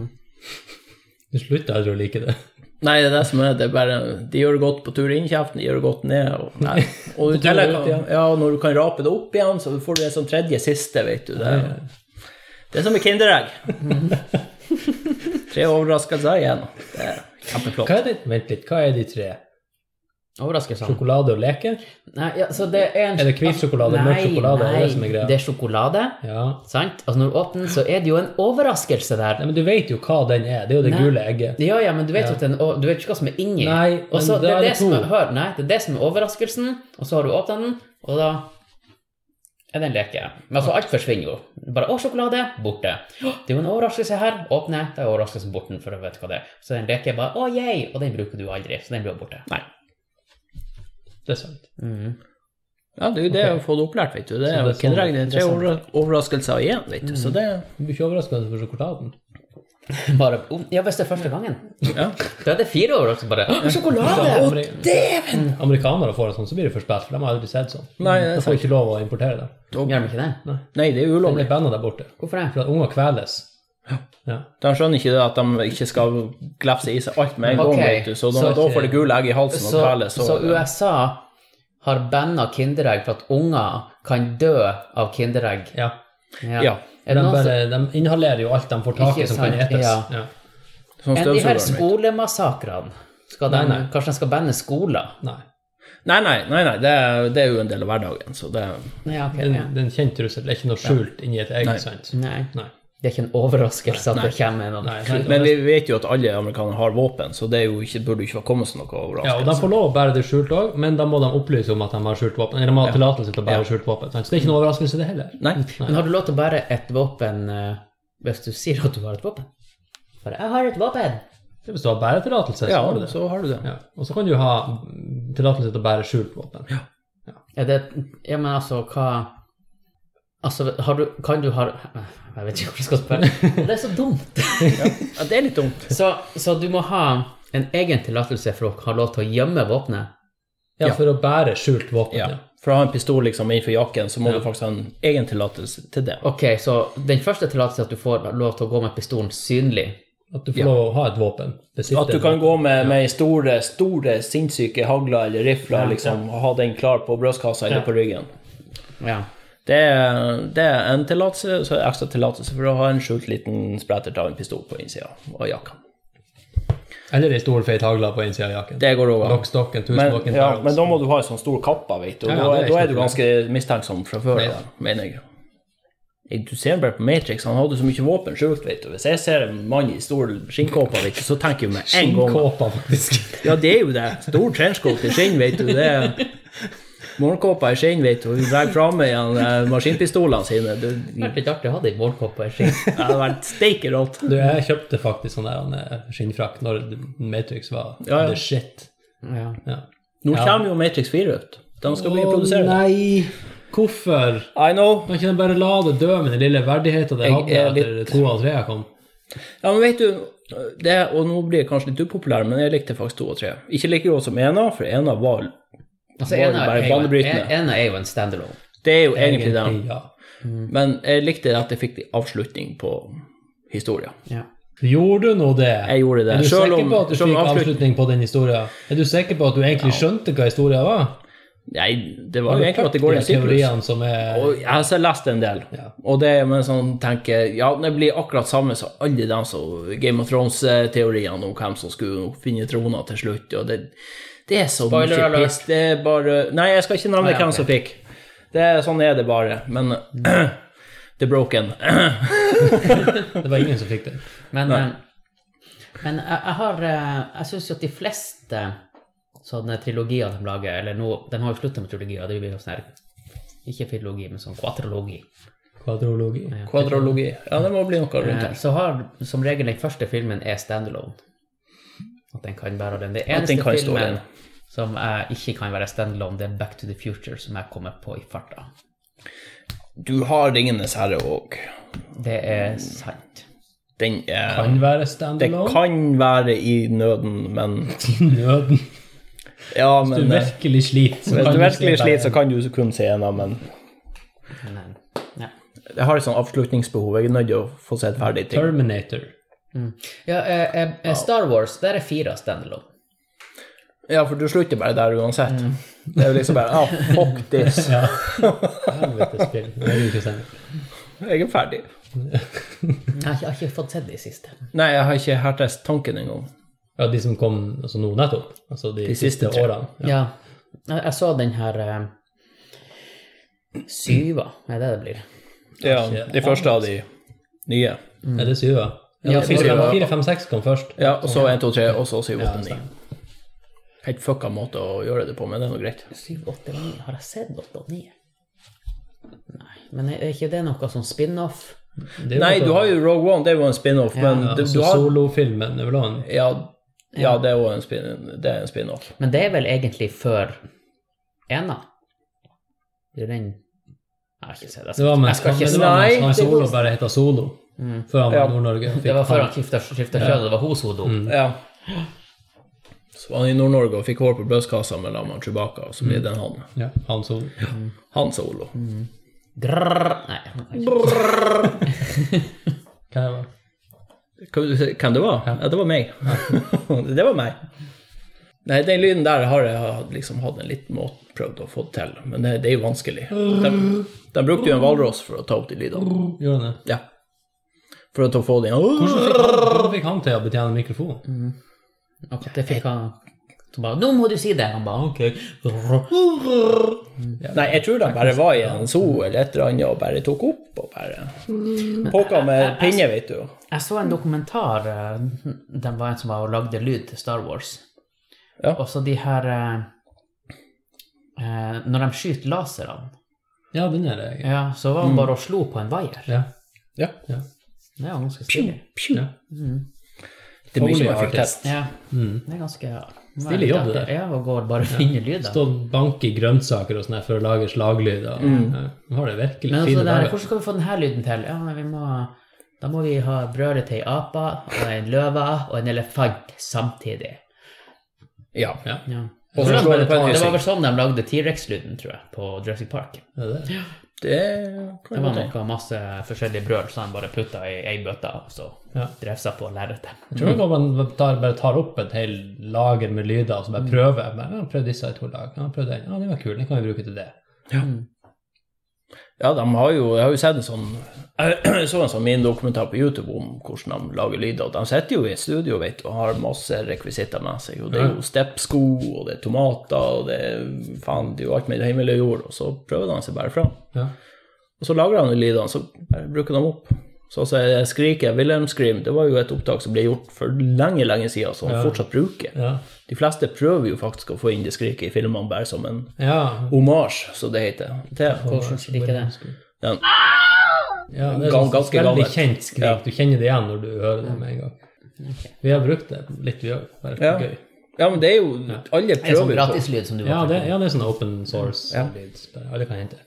S2: Du slutter aldri å like det.
S3: Nei, det er det som er det er bare, De gjør det godt på tur inn i kjeften, de gjør det godt ned. Og, nei. og i
S2: tur
S3: tillegg
S2: ut
S3: kan,
S2: igjen.
S3: ja, og når du kan rape det opp igjen, så får du en sånn tredje siste, vet du. Det, er- det er som med Kinderegg. Tre overraskelser igjen. Det er kjempeflott.
S2: Hva er det? Vent litt, hva er de tre?
S1: Overraskelsene.
S2: Sjokolade og leke?
S1: Nei, ja, så det er en
S2: Er det hvit sjokolade, mørk sjokolade?
S1: Nei,
S2: Det er det som er greia.
S1: det er sjokolade.
S2: Ja.
S1: Sant? Altså når du åpner, så er det jo en overraskelse der.
S2: Nei, men du vet jo hva den er. Det er jo det
S1: Nei.
S2: gule egget.
S1: Ja, ja, men du vet, jo at den, og, du vet ikke hva som er inni.
S2: Nei, men
S1: og så,
S2: da
S1: det,
S2: er
S1: er det,
S2: det
S1: som
S2: to.
S1: er, hør, nei, det er det som er overraskelsen, og så har du åpnet den, og da er det en leke. Men altså, alt forsvinner jo. Bare 'Å, sjokolade!' borte. Det er jo en overraskelse her. Åpne, da er overraskelsen borte. for du vet hva det er. Så den leken er bare 'Å, yay!' og den bruker du aldri. Så den blir borte.
S3: Nei.
S2: Det er sant.
S1: Mhm.
S3: Ja, det er jo det å få det opplært, vet du. Det
S2: Så det
S3: er
S2: er
S3: jo
S2: sånn-
S3: Kinderegg, det er
S2: det
S3: tre
S2: er sånn.
S3: overra- overraskelser igjen, vet du. Så det
S2: Du blir ikke overraska for sjokoladen.
S1: Bare, om- ja, hvis det er første gangen.
S2: Mm.
S3: Ja.
S1: Da er det fire overraskelser. Bare 'Å, sjokolade!'
S2: Ameri- Amerikanere får det sånn, så blir det for spesielt, for de har aldri sett sånn.
S3: Nei, det er
S2: de får ikke lov å importere det.
S1: Gjør de ikke det?
S3: Nei, det er jo
S2: De
S3: ulovlig.
S2: blir banna der borte.
S1: Hvorfor det?
S2: For at unger kveles. Ja.
S3: De skjønner ikke det at de ikke skal glefse i seg alt med en
S1: Ok,
S3: gang, vet du. Så, da-
S1: så-
S3: da får det gule egg i halsen og
S1: Så,
S3: kveles.
S1: så, USA har banna Kinderegg for at unger kan dø av Kinderegg.
S2: ja.
S3: Ja.
S1: Er
S2: De,
S1: det noen som,
S2: bare, de inhalerer jo alt de får tak i
S1: Ikke
S2: som kan
S1: sant,
S2: etes.
S1: ja.
S2: Ja.
S3: Sånn
S1: er de her
S3: støvsugeren, vet du.
S1: skolemassakrene skal de,
S2: Nei, nei.
S1: Kanskje de skal banne skoler?
S2: Nei.
S3: Nei, nei, nei, nei det, er, det er jo en del av hverdagen, så det
S1: Ja, ok,
S2: Det er
S1: ja.
S2: en- det er en kjent trussel. Det er ikke noe skjult inni et egg.
S3: Nei.
S2: sant?
S1: Nei.
S2: Nei.
S1: Det er ikke en overraskelse at det kommer noen.
S2: Nei, sant.
S3: Men vi vet jo at alle amerikanere har våpen, så det er jo ikke, burde jo ikke komme som noe
S2: Ja, og de
S3: overraskelse.
S2: får lov å bære det skjult òg, men da må de opplyse om at de har skjult våpen. Eller de har tillatelse til å bære
S3: Ja.
S2: skjult våpen. Sant? Så det er ikke noe overraskelse, det heller.
S3: Nei.
S1: Men har du lov til å bære et våpen eh, hvis du sier at du har et våpen? Bare 'Jeg har et våpen'.
S2: Det Hvis du har bæretillatelse, så
S3: Ja,
S2: har du det.
S3: så har du det.
S2: Ja. Og så kan du ha mm, tillatelse til å bære skjult våpen.
S1: Er det Ja, men altså, hva Altså, har du Kan du ha Jeg vet ikke hvor jeg skal spørre. Det er så dumt.
S3: Ja, det er litt dumt.
S1: Så, så du må ha en egen tillatelse for å ha lov til å gjemme våpenet?
S2: Ja,
S3: Ja.
S2: for å bære skjult våpen.
S3: Ja.
S2: Ja.
S3: For å ha en pistol liksom innenfor jakken, så må du faktisk ha en egen tillatelse til det.
S1: Ok, så den første tillatelsen er at du får lov til å gå med pistolen synlig.
S2: At du får lov å ha et våpen. Besitte
S3: At du
S2: et
S3: kan
S2: våpen.
S3: gå med, med store, store sinnssyke hagler eller rifler liksom, og ha den klar på brystkassa eller på ryggen.
S1: Ja.
S3: Det er, det er en tillatelse, så er det ekstra tillatelse for å ha en skjult liten sprettert av en pistol på innsida av jakka.
S2: Eller ei stor, feit hagle på innsida av jakken.
S3: Det går òg an.
S2: Lockstocken,
S3: Men,
S2: tusenbokken,
S3: ja,
S2: Charles.
S3: men da må du ha ei sånn stor kappe, vet du.
S2: Ja,
S3: Og
S2: ja,
S3: da,
S2: det er
S3: da er
S2: ikke
S3: du
S2: noe
S3: ganske mistenksom fra før av, mener jeg. Jeg- Du ser bare på Matrix, han hadde så mye våpen skjult, vet du. Hvis jeg ser en mann i stor skinnkåpe, vet du, så tenker jeg med en gang
S2: Skinnkåpa, faktisk.
S3: Ja, det er jo det. Stor trenchcoat i skinn, vet du. Det er Morgenkåpa i skinn, vet du. Hun drar fram igjen eh, maskinpistolene sine. Du,
S1: Det hadde vært litt artig å ha det i målkopp på en skinn.
S3: det hadde vært steike rått.
S2: Du, jeg kjøpte faktisk sånn der en skinnfrakk når Matrix var
S3: Ja, ja.
S2: the shit.
S1: Ja.
S2: Ja.
S3: Nå
S2: Ja.
S3: kommer jo Matrix 4 ut. De skal bli
S2: Å,
S3: produsert.
S2: Nei! Hvorfor?
S3: I know.
S2: Kan ikke de bare la det dø med den lille verdigheten det
S3: Jeg
S2: hadde
S3: er
S2: etter to av tre kom?
S3: Ja, men vet du, det, og nå blir jeg kanskje litt upopulær, men jeg likte faktisk to og tre. Ikke like godt som ena, for ena var
S1: Altså,
S3: Var det
S1: ena
S3: bare
S1: er, jo,
S3: banebrytende?
S1: en- ena er jo en standalone.
S3: Det er jo egentlig Mm. den.
S2: Ja.
S3: Men jeg likte at jeg fikk en avslutning på historien.
S1: Ja.
S2: Gjorde du nå det?
S3: Jeg gjorde det.
S2: Er du
S3: Selv
S2: sikker
S3: om-
S2: på at du
S3: selv om
S2: fikk
S3: avslutning-
S2: avslutning på den historien? Er du sikker på at du egentlig skjønte hva historien var?
S3: Nei, det var jo
S2: Har du
S3: egentlig
S2: hørt
S3: at det går i
S2: de
S3: en syklus.
S2: teoriene som er
S3: Og jeg har så lest en del,
S2: Ja.
S3: og det med sånn tenker Ja, det blir akkurat samme som alle de som Game of Thrones-teoriene om hvem som skulle finne trona til slutt, og det, det er så
S1: Spoiler
S3: mye
S1: alert.
S3: piss. Det er bare Nei, jeg skal ikke nevne
S1: Ah, ja,
S3: hvem
S1: ok.
S3: som fikk. Det, er- sånn er det bare. Men The Broken
S2: Det var ingen som fikk det.
S1: Men, eh, men jeg, jeg har eh, Jeg syns jo at de fleste sånne trilogier de lager Eller nå, de har jo slutta med trilogier, det blir jo sånn her Ikke filologi, men sånn quatrologi.
S2: Kvadrologi.
S3: Kvadrologi. Ja, det må bli noe rundt
S1: Eh,
S3: her.
S1: Så har som regel den første filmen er standalone. At den kan være den. Det
S3: den
S1: eneste
S3: kan stå
S1: filmen
S3: alene.
S1: som jeg ikke kan være standalone, det er Back to the Future, som jeg kommer på i farta.
S3: Du har Ringenes herre òg.
S1: Det er sant.
S3: Den er
S2: Kan være
S3: Det
S2: standalone.
S3: kan være i nøden, men
S2: Nøden.
S3: Ja,
S2: Hvis
S3: men
S2: du
S3: eh,
S2: virkelig sliter, så
S3: Hvis
S2: kan
S3: du
S2: du
S3: virkelig
S2: se
S3: sliter,
S2: deg.
S3: så kan du kun se gjennom, men
S1: Men, eh, ja.
S3: jeg har et sånt avslutningsbehov. Jeg er nødt til å få sett ferdig ting.
S2: Terminator.
S1: Ja, eh, eh, eh, Star Wars, der er fire standalone.
S3: Ja, for du slutter bare der uansett. Det er jo liksom bare ah, fuck this.
S2: Ja. Helvete spill. Det er jo ikke sant.
S3: Jeg er ferdig.
S1: Jeg har ikke, jeg har ikke fått sett de siste.
S3: Nei, jeg har ikke hertes tanken engang.
S2: Ja, de som kom altså nå nettopp. Altså de,
S3: De siste
S2: siste,
S3: tre.
S2: årene.
S1: Ja. Jeg, jeg så den her eh, Syva, er det det blir?
S3: Ja, de første av de nye.
S2: Er det syva? Ja,
S1: Ja,
S2: det var-
S1: syva.
S2: det var fire, fem, seks kom først.
S3: Ja, og så 1, 2, 3, og så 7, 8,
S2: stemmer.
S3: 9. Helt fucka måte å gjøre det på, men det er nå greit.
S1: Syv, åtte, ni. Har jeg sett åtte og ni? Nei, men er er ikke det noe sånn spin-off?
S2: Det er jo
S3: Nei,
S2: også-
S3: du har jo Rogue One, det er jo en spin-off, men
S2: ja,
S3: du,
S2: altså
S3: du har
S2: Solofilmen er vel også en
S3: Ja, ja det er jo en spin- det er en spin-off.
S1: Men det er vel egentlig før ena? Det er den Jeg har ikke sett det.
S2: Det var med
S1: Jeg skal ikke
S2: men det
S1: si Mm.
S2: var
S3: Nei,
S2: mens han
S3: det
S2: Solo
S3: var-
S2: bare heta Solo. Før han var
S3: Ja.
S2: i Nord-Norge. og
S1: Det var
S2: fikk
S1: før
S2: han- Mm.
S1: han skifta kjønn, det var hun som dop.
S3: Ja. Så var han i Nord-Norge og fikk hår på brystkassa mellom han Chewbacca, og så blir det en han.
S2: Ja, han Solo.
S3: Han solo.
S1: Grrr. Nei.
S2: Hva det var?
S3: Hvem hvem det var? Ja, det var meg. det var meg. Nei, den lyden der har jeg hatt- liksom hatt en liten måte prøvd å få det til, men det, det er jo vanskelig. De, de brukte jo en hvalross for å ta opp de lydene.
S2: Gjorde han det?
S3: Ja. For å ta- få de
S2: Hvordan fikk han- hvordan fikk han til å betjene mikrofon?
S1: Og når fikk han Så bare 'Nå må du si det!' Han bare 'OK'. Grrr. Mm.
S3: Nei, jeg tror de bare var i en zoo eller et eller annet og bare tok opp og bare Pokka med pinne, vet du.
S1: Jeg så en dokumentar eh, Den var en som var og lagde lyd til Star Wars.
S3: Ja.
S1: Og så de her eh, eh, Når de skyter laserne,
S2: Ja, den er det. jeg-
S1: ja, så var han bare og slo på en vaier.
S2: Ja.
S3: Ja.
S2: ja.
S1: Det er jo ganske stilig.
S2: ja.
S3: Det blir
S2: Foley
S3: ikke fikk
S2: artist.
S3: test.
S1: Ja. Det er ganske
S2: Stilig jobb, det der.
S1: Ja, å gå og bare finne lyder.
S2: Stå og banke i grønnsaker og sånn her for å lage slaglyder. Ja, de har det
S1: Mm.
S2: virkelig
S1: Men altså,
S2: fine
S1: det her,
S2: dager.
S1: hvordan skal vi få denne lyden til? Ja, men vi må, da må vi ha brødet til ei ape, og en løve og en elefant samtidig.
S3: Ja.
S2: Ja,
S1: Ja.
S3: Og så
S1: Hvordan-
S3: slår det på en
S1: det var
S3: hyssing.
S1: vel sånn de lagde T-rex-lyden, tror jeg, på Jurassic Park.
S2: det er det.
S3: Det
S1: Det
S3: kan
S1: var
S3: jeg tenke.
S1: noe masse forskjellige brøl som de bare putta i ei bøtte, og så
S2: Ja.
S1: drev seg på lerretet.
S2: Jeg tror nok at man tar, bare tar opp et helt lager med lyder og så
S1: Mm.
S2: bare prøver. Bare, ja, prøv disse i to lag. Ja, prøv den. Ja, den var kul. Den kan vi bruke til det.
S3: Ja, de har jo, jeg har jo sett en sånn jeg så en sånn minidokumentar på YouTube om hvordan de lager lyder. og De sitter jo i et studio vet du, og har masse rekvisitter med seg. og Det er jo steppsko, og det er tomater, og det er faen, det er jo alt med himmel og jord. Og så prøver de seg bare fram.
S2: Ja.
S3: Og så lagrer han lydene, så bare bruker de opp. Så altså, jeg skriker Wilhelm Scream, det var jo et opptak som ble gjort for lenge, lenge siden, som han fortsatt bruker.
S2: Ja.
S3: De fleste prøver jo faktisk å få inn det skriket i filmene bare som en
S2: ja.
S3: homasj, som det heter. Til
S1: Hvordan skriker det?
S3: den.
S2: Ja, det er
S3: Gam-
S2: sånn
S3: ganske
S2: veldig
S3: gammelt.
S2: kjent skrik.
S3: Ja.
S2: Du kjenner det igjen når du hører det med en gang. Vi har brukt det litt, vi òg. Bare for
S3: Ja.
S2: gøy.
S3: ja, men det er jo Alle
S1: En sånn
S3: prøver jo på
S1: gratislyd som du
S2: Ja
S1: var
S2: det, ja, det er sånn open source. lyd. Bare Alle kan hente.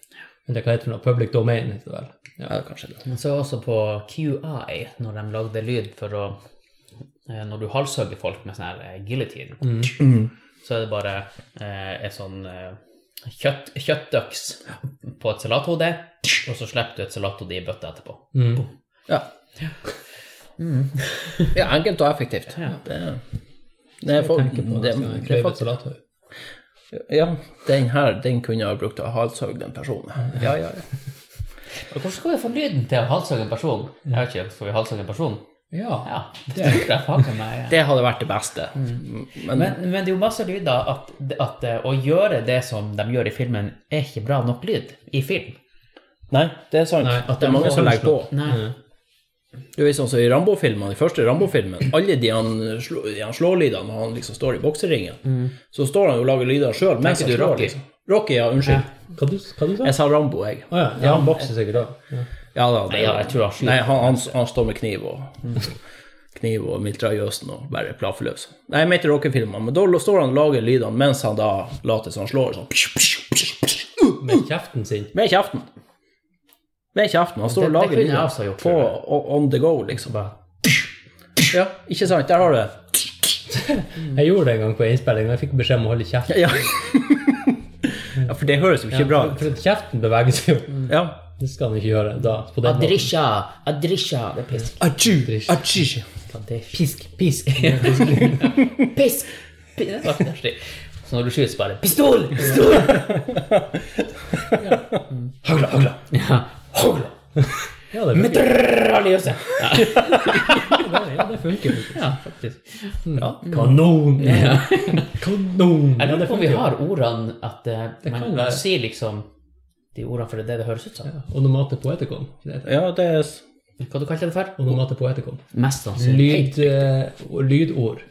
S2: Men det kan hete for noe public domain. heter det vel. Ja.
S3: ja, kanskje det.
S1: Men så også på QI, når de lagde lyd for å eh, Når du halshugger folk med sånn her eh, guillotine, så er det bare eh, et sånn eh, kjøtt, kjøttøks på et salathode, og så slipper du et salathode i bøtta etterpå.
S2: Mm.
S3: Ja. Mm. ja, enkelt og effektivt. Det, det, er, folk,
S2: Tenker på
S3: det,
S2: skal jeg
S3: det er
S2: kløyve
S3: faktisk
S2: salathøy.
S3: Ja, den her, den kunne jeg ha brukt til å halshugge den personen. Ja, ja, ja.
S1: Og Hvordan skal vi få lyden til å halshugge en person? Jeg vet ikke, Skal vi halshugge en person?
S2: Ja.
S1: Ja, det tror jeg faen meg.
S3: Det hadde vært det beste. Mm. Men,
S1: Men, men det er jo masse lyder at, at eh, å gjøre det som de gjør i filmen, er ikke bra nok lyd i film.
S3: nei, det er sant.
S2: Nei,
S3: at det er mange
S2: må
S3: som
S2: holde
S3: legger på. Mm.
S1: Nei.
S3: Du vet sånn som i Rambo-filmene, i første Rambo-filmen, alle de han, slå, de han slår lydene når han liksom står i bokseringen, så står han jo og lager lyder sjøl mens han
S1: Tenker du
S3: slår.
S1: Rocky?
S3: Liksom. Mm. Rocky, ja, unnskyld.
S2: Hva du, hva du sa
S3: Jeg sa Rambo, jeg.
S2: Å ja. ja, han bokser sikkert òg.
S3: Ja da. Det,
S1: Nei, ja, jeg tror han skyter.
S3: Nei, han, han, han står med kniv og kniv og mitraljøsen og bare plaffer løs. Nei, jeg mente rockefilmer, men da står han og lager lydene mens han da later som han slår. Sånn. psh, psh, psh, psh, uh,
S2: Med kjeften sin.
S3: Med kjeften. Med kjeften. Han
S1: Det-
S3: står og
S1: det
S3: lager
S1: kunne jeg
S3: lyder
S1: også gjort,
S3: på
S1: tror
S3: o- on the go, liksom. Bare. Ja, ikke sant? Der har du det.
S2: Jeg gjorde det en gang på innspilling, og jeg fikk beskjed om å holde kjeft.
S3: Ja. ja, for det høres jo ikke bra ut.
S2: For at kjeften beveger seg jo.
S3: Ja.
S2: Det skal han ikke gjøre da. På den måten.
S1: Adrisha, adrisha. Det er pisk. Pisk, pisk. pisk. pisk. Det var ikke artig. Så når du skyter, så bare Pistol! Pistol!
S2: Hagla, hagla!
S1: Ja. Hold!
S2: Ja, det funker.
S1: Mitraljøse! Ja,
S2: Ja, det funker.
S1: ja, faktisk.
S3: Ja.
S2: Kanon! Kanon!
S1: Jeg
S2: Ja,
S1: lurer
S2: det
S1: på om vi
S2: funker.
S1: har ordene at eh,
S2: kan
S1: man
S2: være.
S1: sier liksom de ordene for det er det det høres ut som.
S2: Ja, Onomate poetikon. ikke det heter?
S3: ja, det er s-
S1: Hva du kalte det for?
S2: Onomate poetikon.
S1: Mest sannsynlig.
S2: Lyd, eh, og lydord.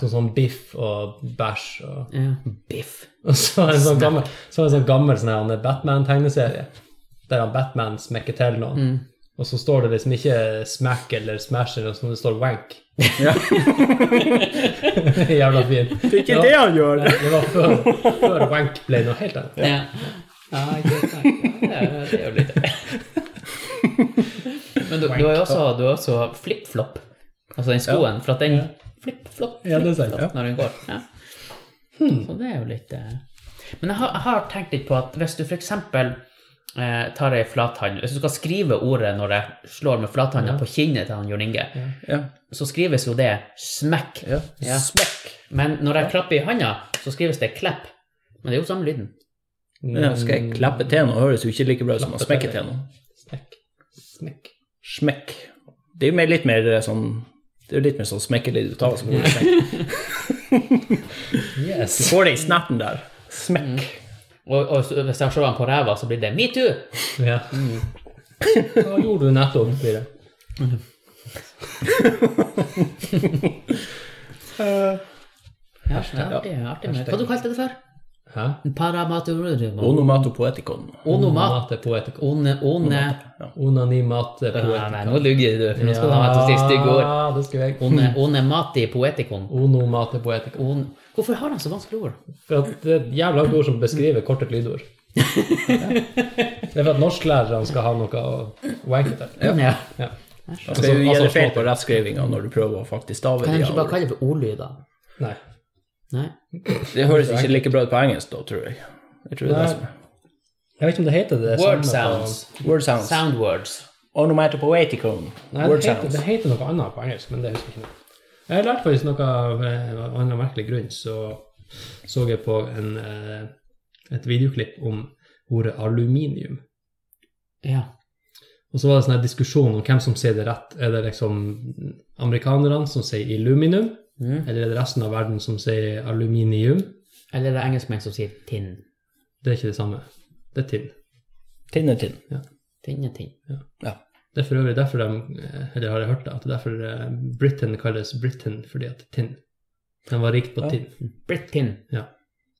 S2: Sånn som biff og bæsj og
S1: Ja. Biff.
S2: Og så en sånn gammel, så en sånn gammel sånn her, han Batman-tegneserie, der han Batman smekker til noen. Og så står det liksom ikke smack eller smash, eller noe sånt, det står wank.
S3: Ja.
S2: Jævla fint. Det
S3: er ikke det han gjør.
S2: Det var før, før wank ble noe helt annet.
S1: Ja. Ja, greit, takk. Ja, ja, det gjør litt Men du, du har jo også, du har også flip-flop, altså den skoen, for at den flip-flop
S2: Ja, det er sant,
S1: flip-flop
S2: ja. Hmm.
S1: når den går. Ja. Så det er jo litt eh. Men jeg har, jeg har tenkt litt på at hvis du f.eks. Eh, tar ei flathånd Hvis du skal skrive ordet når jeg slår med flathånda på kinnet til han Jørn Inge,
S3: Ja.
S1: så skrives jo det smekk.
S3: Ja.
S1: Ja.
S3: Smekk.
S1: Men når jeg klapper i handa, så skrives det klepp. Men det er jo samme lyden.
S3: Ja, skal jeg klappe til noe, høres jo ikke like bra ut som å smekke til noe.
S2: Smekk. Smekk.
S3: Smekk. Det er jo mer, litt mer eh, sånn det er jo litt mer sånn smekkelyd ut av det. som ordet smekk.
S2: Yes.
S3: Får det i snappen der. Smekk.
S1: Og, og så- hvis jeg slår han på ræva, så blir det metoo.
S2: Ja.
S1: Mm.
S2: Hva gjorde du nettopp, Bire?
S1: Ja, det er artig, det er artig. med- Hva du kalte du det for?
S2: Hæ?
S1: Paramaturum.
S3: Onomatopoetikon.
S1: Onomat.
S2: Mate poetikon.
S1: One, one.
S2: Onanimate
S1: Nei, nei,
S2: poetikon.
S1: nå lugger du, for nå skal du ha meg til å si stygge ord.
S2: Ja, det skulle jeg.
S1: One, onemati poetikon.
S2: Onomate poetikon.
S1: On... Hvorfor har han så vanskelige ord?
S2: For at det er et jævla langt ord som beskriver kortet lydord. Det er for at norsklærerne skal ha noe å wanke til.
S1: Ja.
S2: Ja.
S3: Altså,
S2: Altså,
S3: det gjelder
S2: altså,
S3: feil på rettskrivinga når du prøver å faktisk stave
S1: Kan de
S3: de
S1: ikke bare
S3: ordene.
S1: kalle det for ordlyder?
S2: Nei.
S1: Nei.
S3: Det høres ikke like bra ut på engelsk da, tror jeg. Jeg tror det er det
S2: Nei.
S3: som er.
S2: Jeg vet ikke om det heter det.
S1: Word
S2: samme på-
S1: sounds.
S3: Word sounds.
S1: Sound words.
S3: Onomatopoetikon.
S2: Nei,
S3: Word
S2: det, heter,
S3: sounds.
S2: det heter noe annet på engelsk, men det husker jeg ikke. nå. Jeg lærte faktisk noe av eh, en annen merkelig grunn, så så jeg på en, eh, et videoklipp om ordet aluminium.
S1: Ja.
S2: Og så var det sånn her diskusjon om hvem som sier det rett. Er det liksom amerikanerne som sier illuminum,
S1: Mm.
S2: eller er det resten av verden som sier aluminium?
S1: Eller er det engelskmenn som sier tinn?
S2: Det er ikke det samme. Det er tinn.
S3: Tinn er tinn.
S1: Tinn er tinn.
S3: Ja.
S2: Det er for øvrig derfor de, eh, eller har jeg hørt det, at det er derfor eh, Britain kalles Britain, fordi at tinn. Den var rikt på
S3: Ja.
S2: tinn.
S1: Britin.
S2: Ja.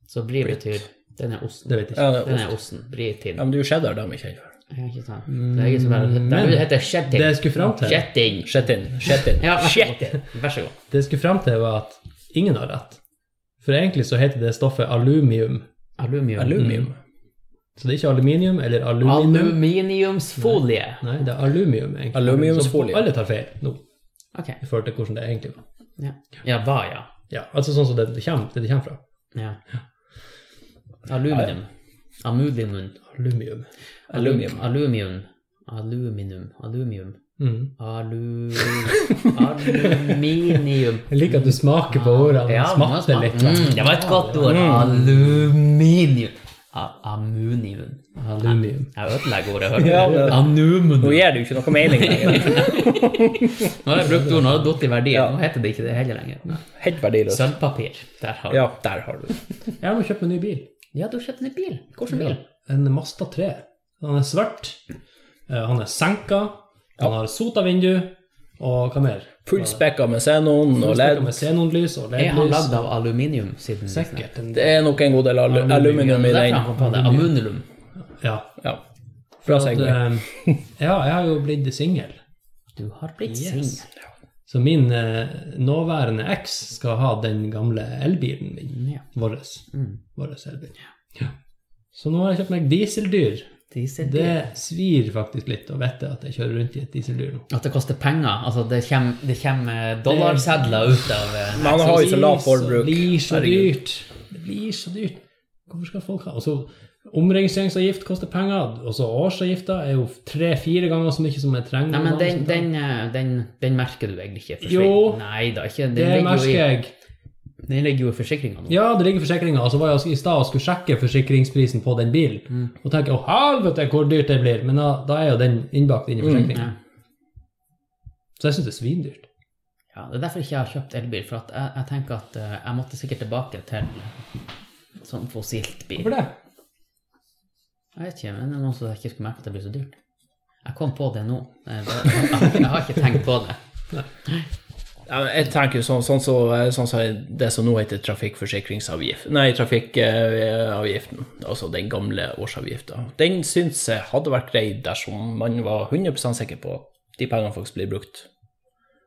S1: Så brie
S3: Brit.
S1: betyr Den er osten.
S2: Det vet jeg ikke.
S3: Ja, det er
S1: Den
S3: ost.
S1: er osten. Britin.
S3: Ja, men det er jo cheddar, dem ikke jeg for.
S1: Ja, ikke sant? Det er ikke så veldig
S2: Mm, Men-
S1: Det heter kjetting.
S2: Det jeg skulle fram til,
S1: Kjetting.
S3: Chetin. Chetin.
S1: Ja, vær så god.
S3: Chetin.
S1: Vær så god.
S2: det jeg skulle frem til var at ingen har rett. For egentlig så heter det stoffet aluminium.
S1: Aluminium.
S3: Aluminium.
S2: Så det er ikke aluminium eller aluminium.
S1: Aluminiumsfolie.
S2: Nei, det er aluminium, egentlig.
S3: Aluminiumsfolie.
S2: Så alle tar feil nå,
S1: Ok.
S2: i forhold til hvordan det egentlig var.
S1: Ja, ja hva, ja.
S2: Ja, altså sånn som det det kommer, det det kommer fra.
S1: ja. Aluminium. Aluminium.
S2: Aluminium.
S3: Aluminium.
S1: Aluminium. Aluminium. Aluminium.
S2: Mm.
S1: Alu... Aluminium.
S2: Jeg liker at du smaker på ordene,
S1: Ja,
S2: og
S1: man
S2: smatter
S1: smak-
S2: litt.
S1: Mm, det var et godt ord. Aluminium. A- Ammonium.
S2: Aluminium.
S1: Jeg ødelegger ordet.
S3: Ja,
S1: hører
S3: Oh,
S1: du?
S3: det-
S1: Anumen.
S3: Nå gir det jo ikke noe mening lenger.
S1: Nå har jeg brukt ordet, nå har det datt i verdi.
S3: Ja.
S1: Nå heter det ikke det heller lenger.
S3: Helt verdiløst.
S1: Sølvpapir. Der har du.
S3: Ja,
S1: Ja.
S3: der har du det.
S2: Jeg må kjøpe en ny bil.
S1: du har kjøpt en ny bil. Hvilken bil?
S2: En Mazda 3. Han er svart, eh, han er senka, han har sota vindu, og hva mer?
S3: Fullspekka med xenon og
S2: Fullspekka
S3: led.
S2: Med xenonlys og
S1: Er han
S2: LED-lys.
S1: lagd av aluminium siden
S2: Sikkert. En,
S3: Det er nok en god del alu aluminium i
S1: Derfor
S3: den.
S1: han kom på det. Amunulum.
S2: ja.
S3: Ja. Fra
S2: At,
S3: Segway.
S2: eh, ja, jeg har jo blitt singel.
S1: Du har blitt
S2: Yes.
S1: singel.
S2: Så min eh, nåværende eks skal ha den gamle elbilen min.
S1: Ja.
S2: Vår
S1: Mm.
S2: elbil. Ja. Så nå har jeg kjøpt meg dieseldyr.
S1: Dieselbil.
S2: Det svir faktisk litt å vite at jeg kjører rundt i et dieseldyr nå.
S1: At det koster penger. Altså, det kommer, det kommer dollarsedler ut av eh,
S3: Men han har jo så lavt
S2: Så Det
S3: forbruk.
S2: blir så
S3: Herregud.
S2: dyrt. Det blir så dyrt. Hvorfor skal folk ha Og så omregistreringsavgift koster penger, og så årsavgifta er jo tre-fire ganger så mye som jeg trenger.
S1: Nei, men den, den, eh, den, den merker du egentlig ikke.
S2: Jo.
S1: Nei da, ikke.
S2: det
S1: Den ligger
S2: merker
S1: jo i,
S2: jeg.
S1: den ligger jo i forsikringa nå.
S2: Ja, det ligger forsikringa. Og så var jeg i stad og skulle sjekke forsikringsprisen på den bilen. Og tenker å helvete hvor dyrt det blir. Men da, da er jo den innbakt inn i forsikringa.
S1: Ja.
S2: Så jeg syns det er svindyrt.
S1: Ja, Det er derfor ikke jeg har kjøpt elbil. For at jeg, jeg tenker at eh, jeg måtte sikkert tilbake til sånn fossilt bil.
S2: Hvorfor det?
S1: Jeg vet ikke, men det er noen som ikke skulle merke at det blir så dyrt. Jeg kom på det nå. Eh, det- Jeg, jeg har ikke tenkt på det.
S3: Ja, men Jeg tenker jo sånn sånn som sånn, som det som nå heter trafikkforsikringsavgift Nei, trafikkavgiften. Altså den gamle årsavgifta. Den syns jeg hadde vært grei dersom man var 100 sikker på at de pengene faktisk blir brukt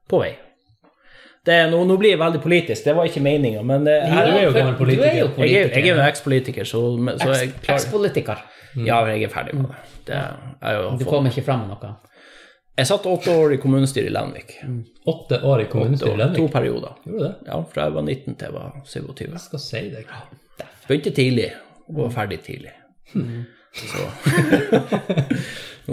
S3: på vei. Det, er- nå, nå blir jeg veldig politisk, det var ikke meninga, men eh, det,
S2: Ja, du er jo gammel politiker.
S1: Du er jo
S3: jeg, er- jeg er jo
S1: politiker.
S3: eks-politiker, så, så jeg
S1: Eks-
S3: klarer
S1: Eks-politiker.
S3: Ja, jeg er ferdig med det. Mm. det jeg, har
S1: Du
S3: fått-
S1: kom ikke fram med noe.
S3: jeg satt åtte år i kommunestyret i Lenvik.
S2: Åtte år i kommunestyret i
S3: To
S2: Lenvik.
S3: perioder.
S2: Gjorde du det?
S3: Ja, fra jeg var 19 til jeg var 27.
S2: Jeg skal si deg.
S3: Begynte tidlig og var ferdig tidlig. Så nå,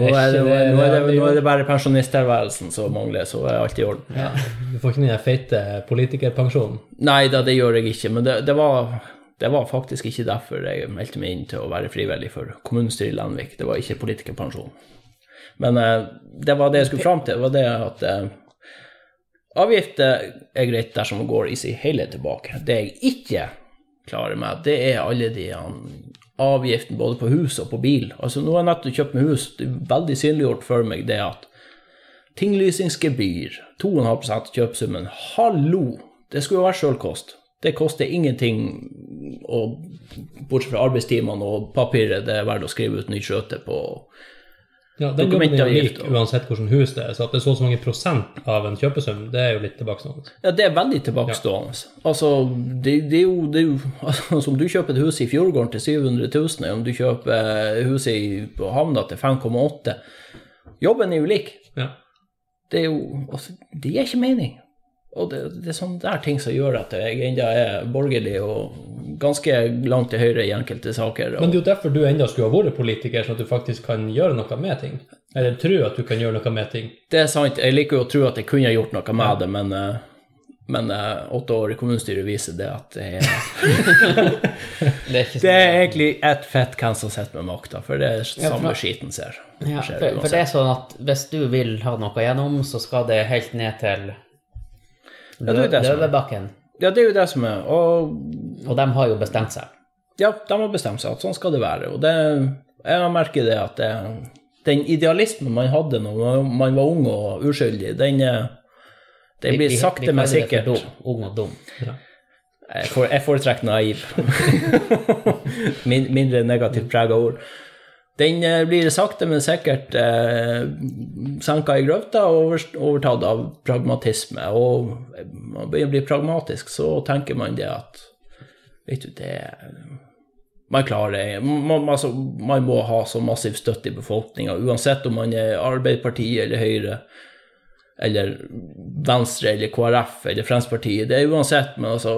S3: er Mm. det, nå, er det, nå, er det, nå er det bare pensjonisttilværelsen som mangler, så er alt i orden.
S2: Du får ikke den der feite politikerpensjonen.
S3: Nei da, det gjør jeg ikke, men det, det, var, det var faktisk ikke derfor jeg meldte meg inn til å være frivillig for kommunestyret i Lenvik. Det var ikke politikerpensjon. Men eh, det var det jeg skulle fram til, det var det at eh, avgifter er greit dersom det går i sin helhet tilbake. Det jeg ikke klarer meg, det er alle de um, avgiftene både på hus og på bil. Altså, nå har jeg nettopp kjøpt meg hus, det er veldig synliggjort for meg det at Tinglysningsgebyr, 2,5 av kjøpsummen. Hallo! Det skulle jo være sjølkost. Det koster ingenting, og, bortsett fra arbeidstimene og papiret det er verdt å skrive ut nytt skjøte på.
S2: Ja, den jobben er jo lik
S3: Dokumentavgift, og-
S2: uansett hvordan hus det er, så at det er så og så mange prosent av en kjøpesum, det er jo litt sånn. tilbakestående.
S3: Ja, det er veldig tilbakestående. Altså, det, det er jo, det er jo altså, Om du kjøper et hus i Fjordgården til 700 000, eller om du kjøper huset i, på Havna til 5,8 Jobben er jo lik.
S2: Ja.
S3: det er jo altså, Det gir ikke mening. Og det, det er sånne der ting som gjør at jeg ennå er borgerlig og ganske langt til høyre i enkelte saker.
S2: Men
S3: Og,
S2: det er jo derfor du enda skulle ha vært politiker, sånn at du faktisk kan gjøre noe med ting. Eller tro at du kan gjøre noe med ting.
S3: det er sant, jeg liker jo å tro at jeg kunne ha gjort noe med det, men, eh, Men eh, åtte år i kommunestyret viser det at det er,
S1: Det er ikke
S3: det
S1: så
S3: er egentlig ett fett hvem som sitter med makta, for det er samme skiten ser.
S1: ja, for,
S3: skjer
S2: altså.
S1: for det
S3: uansett.
S1: er sånn at hvis du vil ha noe gjennom, så skal det helt ned til
S3: det er det som er.
S1: Løvebakken.
S3: Ja, det er jo det som er. Og
S1: Og de har jo bestemt seg.
S3: ja, de har bestemt seg at sånn skal det være. Og det, jeg har merket det at det, den idealismen man hadde når man- man var ung og uskyldig, den, eh, den blir
S1: Vi- vi-
S3: sakte,
S1: vi
S3: men
S1: kaller det
S3: sikkert
S1: for Dum, ung og dum.
S3: Jeg fore- jeg foretrekker naiv. Min, mindre negativt prega ord. Den eh, blir sakte, men sikkert eh, senka i grøfta og over, overtatt av pragmatisme. Og man begynner å bli pragmatisk, så tenker man det at Vet du, det Man klarer man, man- altså, man må ha så massiv støtte i befolkninga, uansett om man er Arbeiderpartiet eller Høyre eller Venstre eller KrF eller Fremskrittspartiet. Det er uansett, men altså,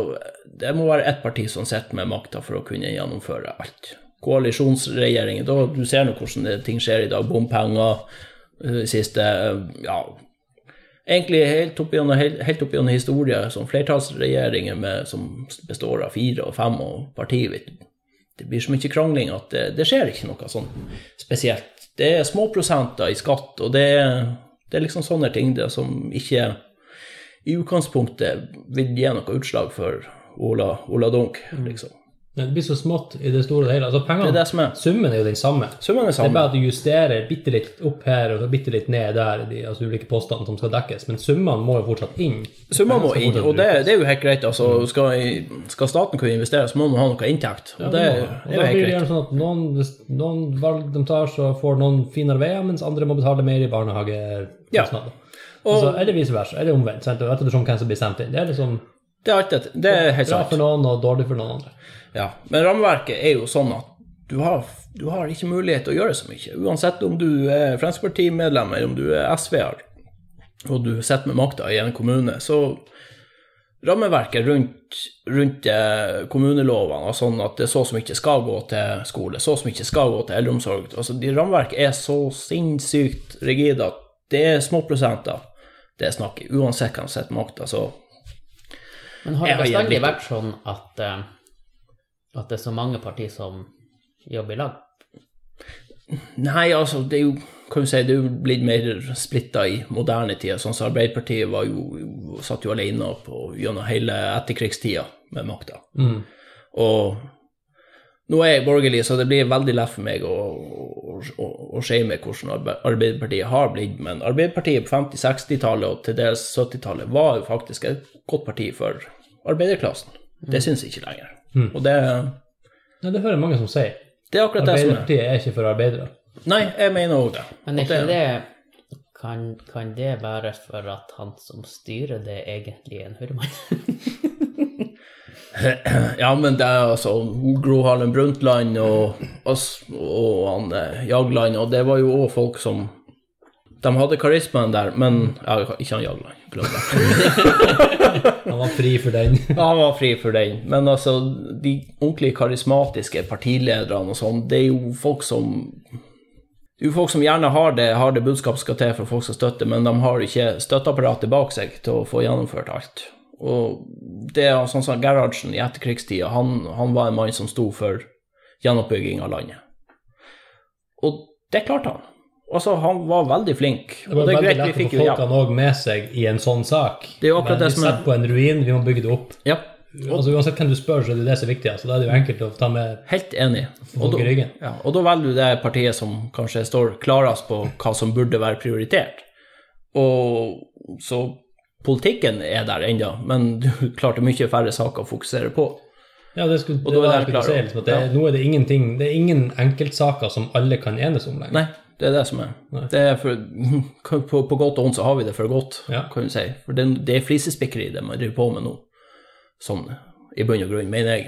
S3: det må være ett parti som sitter med makta for å kunne gjennomføre alt. Koalisjonsregjeringer, da, du ser nå hvordan det, ting skjer i dag. Bompenger, eh, siste eh, Ja. Egentlig helt opp gjennom, helt, helt opp gjennom historien, som flertallsregjeringer med, som består av fire og fem og parti, vet du. Det blir så mye krangling at det, det skjer ikke noe sånn spesielt. Det er små prosenter i skatt, og det, er- det er liksom sånne ting det som ikke i utgangspunktet vil gi noe utslag for Ola, Ola Dunk,
S2: Mm.
S3: liksom.
S2: Det blir så smått i det store og det hele. Altså, pengene,
S3: Det er det som er.
S2: Summen er jo den samme.
S3: Summen er
S2: Det er
S3: samme.
S2: bare at du justerer bitte litt opp her og så bitte litt ned der, i de altså, ulike postene som skal dekkes. Men summene må jo fortsatt inn.
S3: Summer må
S2: Pengene
S3: inn,
S2: skal
S3: og
S2: fortsatt
S3: det, det er jo helt greit.
S2: Mm.
S3: altså, skal, skal staten kunne investere, så må man ha noe inntekt. Og det,
S2: brukes. og da
S3: det er jo
S2: blir
S3: helt
S2: det
S3: greit.
S2: gjerne sånn at noen, hvis noen valg de tar, så får noen finere veier, mens andre må betale mer i barnehagekostnader. Altså, eller vice versa. Eller omvendt. Sant? Og Ettersom hvem som blir sendt inn. Det er liksom
S3: Det er, alt et- det er helt
S2: bra
S3: sant.
S2: for noen og dårlig for noen andre.
S3: Ja, men rammeverket er jo sånn at du har, du har ikke mulighet til å gjøre så mye. Uansett om du er Fremskrittsparti-medlem eller om du er SV-er, og du sitter med makta i en kommune, så rammeverket rundt, rundt eh, kommunelovene og sånn at det er så og så mye skal gå til skole, så og så mye skal gå til eldreomsorg altså de Rammeverket er så sinnssykt rigide at det er små prosenter det er snakk i, uansett hvem som sitter med makta. Så
S1: Men har
S3: Jeg
S1: det
S3: har igjen
S1: bestandig
S3: litt-
S1: vært sånn at, eh, at det er så mange partier som jobber i lag?
S3: Nei, altså, det er jo kan du si, det er jo blitt mer splitta i moderne tider. Sånn som Arbeiderpartiet var jo, satt jo alene på, gjennom hele etterkrigstida med makta. Og nå er jeg borgerlig, så det blir veldig lett for meg å, å, å, å shame hvordan Arbe- Arbeiderpartiet har blitt. Men Arbeiderpartiet på 50-, 60-tallet og til dels 70-tallet var jo faktisk et godt parti for arbeiderklassen. Det syns jeg ikke lenger. Og det,
S2: Nei, det hører jeg mange som sier.
S3: det er akkurat det som er.
S2: Arbeiderpartiet er ikke for arbeidere.
S3: Nei, jeg mener òg det.
S1: Men er
S3: At det-
S1: ikke det kan, kan det være for at han som styrer det, egentlig er en høyremann?
S3: Ja, men det er altså Gro Harlem Brundtland og oss og han eh, Jagland, og det var jo òg folk som De hadde karismaen der, men ja, ikke han Jagland. Glem det.
S2: Han var fri for den.
S3: Han var fri for den. Men altså, de ordentlig karismatiske partilederne og sånn, det er jo folk som det er jo folk som gjerne har det, har det budskapet skal til for folk som støtter, men de har ikke støtteapparatet bak seg til å få gjennomført alt. Og det er sånn som Gerhardsen i etterkrigstida, han, han var en mann som sto for gjenoppbygging av landet. Og det klarte han. Altså, han var veldig flink.
S2: Det var
S3: og det er
S2: veldig
S3: greit,
S2: lett å
S3: vi
S2: få
S3: fikk jo hjelp.
S2: folkene òg med seg i en sånn sak.
S3: Det er jo akkurat
S2: Men
S3: det som
S2: Vi
S3: er-
S2: setter på en ruin, vi må bygge det opp.
S3: Ja,
S2: Altså Uansett hvem du spør, så er det det som er viktig. Altså, da er det jo enkelt å ta med
S3: helt enig. Og
S2: folk i
S3: da,
S2: ryggen.
S3: Ja, og da velger du det partiet som kanskje står klarest på hva som burde være prioritert. Og så politikken er der ennå, men du klarte mye færre saker å fokusere på.
S2: Ja, det skulle, det
S3: Og da
S2: var
S3: er
S2: det jeg
S3: det
S2: skulle si,
S3: klart.
S2: liksom, at det, Nå er det ingenting, det er ingen enkeltsaker som alle kan enes om lenger.
S3: Nei, det er det som er. Det er for, på, på godt og vondt så har vi det for godt,
S2: Ja.
S3: kan du si. For det, det er flisespikkeri det man driver på med nå, sånn i bunn og grunn, mener jeg.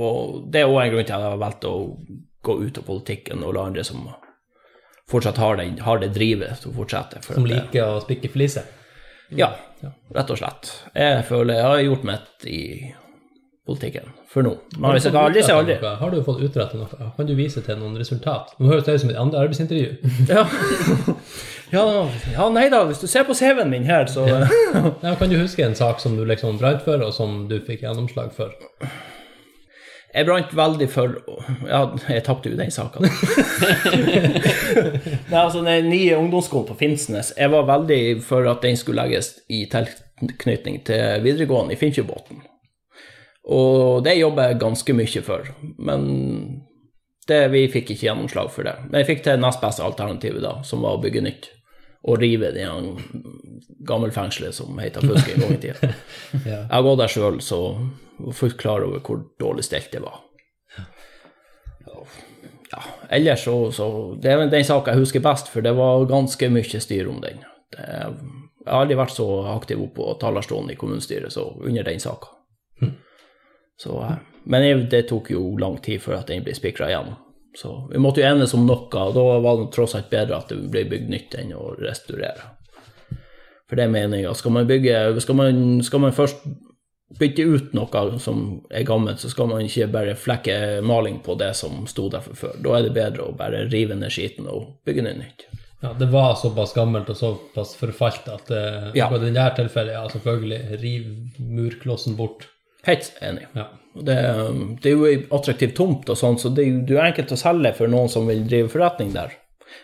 S3: Og det er òg en grunn til at jeg har valgt å gå ut av politikken og la andre som fortsatt har, den, har det drivet, til å fortsette. For
S2: Som
S3: at det-
S2: liker å spikke fliser.
S3: Ja, rett og slett. Jeg føler jeg har gjort mitt i politikken for nå. Men hvis jeg kan aldri si aldri.
S2: Noe? Har du fått utrettet noe? Kan du vise til noen resultat? Nå høres det ut som et andre arbeidsintervju.
S3: Ja. Ja, ja, nei da, hvis du ser på CV-en min her, så
S2: Ja, kan du huske en sak som du liksom brant for, og som du fikk gjennomslag for?
S3: Jeg brant veldig for Ja, jeg tapte jo den saka. Nei, altså, den nye ungdomsskolen på Finnsnes Jeg var veldig for at den skulle legges i tilknytning til videregående i Finnfjordbotn. Og det jobber jeg ganske mye for, men det, vi fikk ikke gjennomslag for det. Men jeg fikk til nest beste alternativet, da, som var å bygge nytt. Og rive det gammelfengselet som heter Fuske en gang i tida.
S2: Ja.
S3: Jeg var der sjøl, så var fullt klar over hvor dårlig stelt det var. Ja, ellers så, så Det er vel den saka jeg husker best, for det var ganske mye styr om den. Det, jeg har aldri vært så aktiv oppe på talerstolen i kommunestyret så under den saka. Så, eh, Men jeg- det tok jo lang tid før at den ble spikra igjen. Så vi måtte jo enes om noe, og da var det tross alt bedre at det ble bygd nytt enn å restaurere. For det mener jeg. at Skal man bygge Skal man, skal man først bytte ut noe som er gammelt, så skal man ikke bare flekke maling på det som sto der fra før. Da er det bedre å bare rive ned skiten og bygge ned nytt.
S2: Ja, det var såpass gammelt og såpass forfalt at eh,
S3: Ja.
S2: akkurat i det her tilfellet, ja, selvfølgelig, riv murklossen bort.
S3: Helt enig.
S2: Ja.
S3: Og Det, det er jo ei attraktiv tomt, og sånn, så det er jo det er jo enkelt å selge for noen som vil drive forretning der.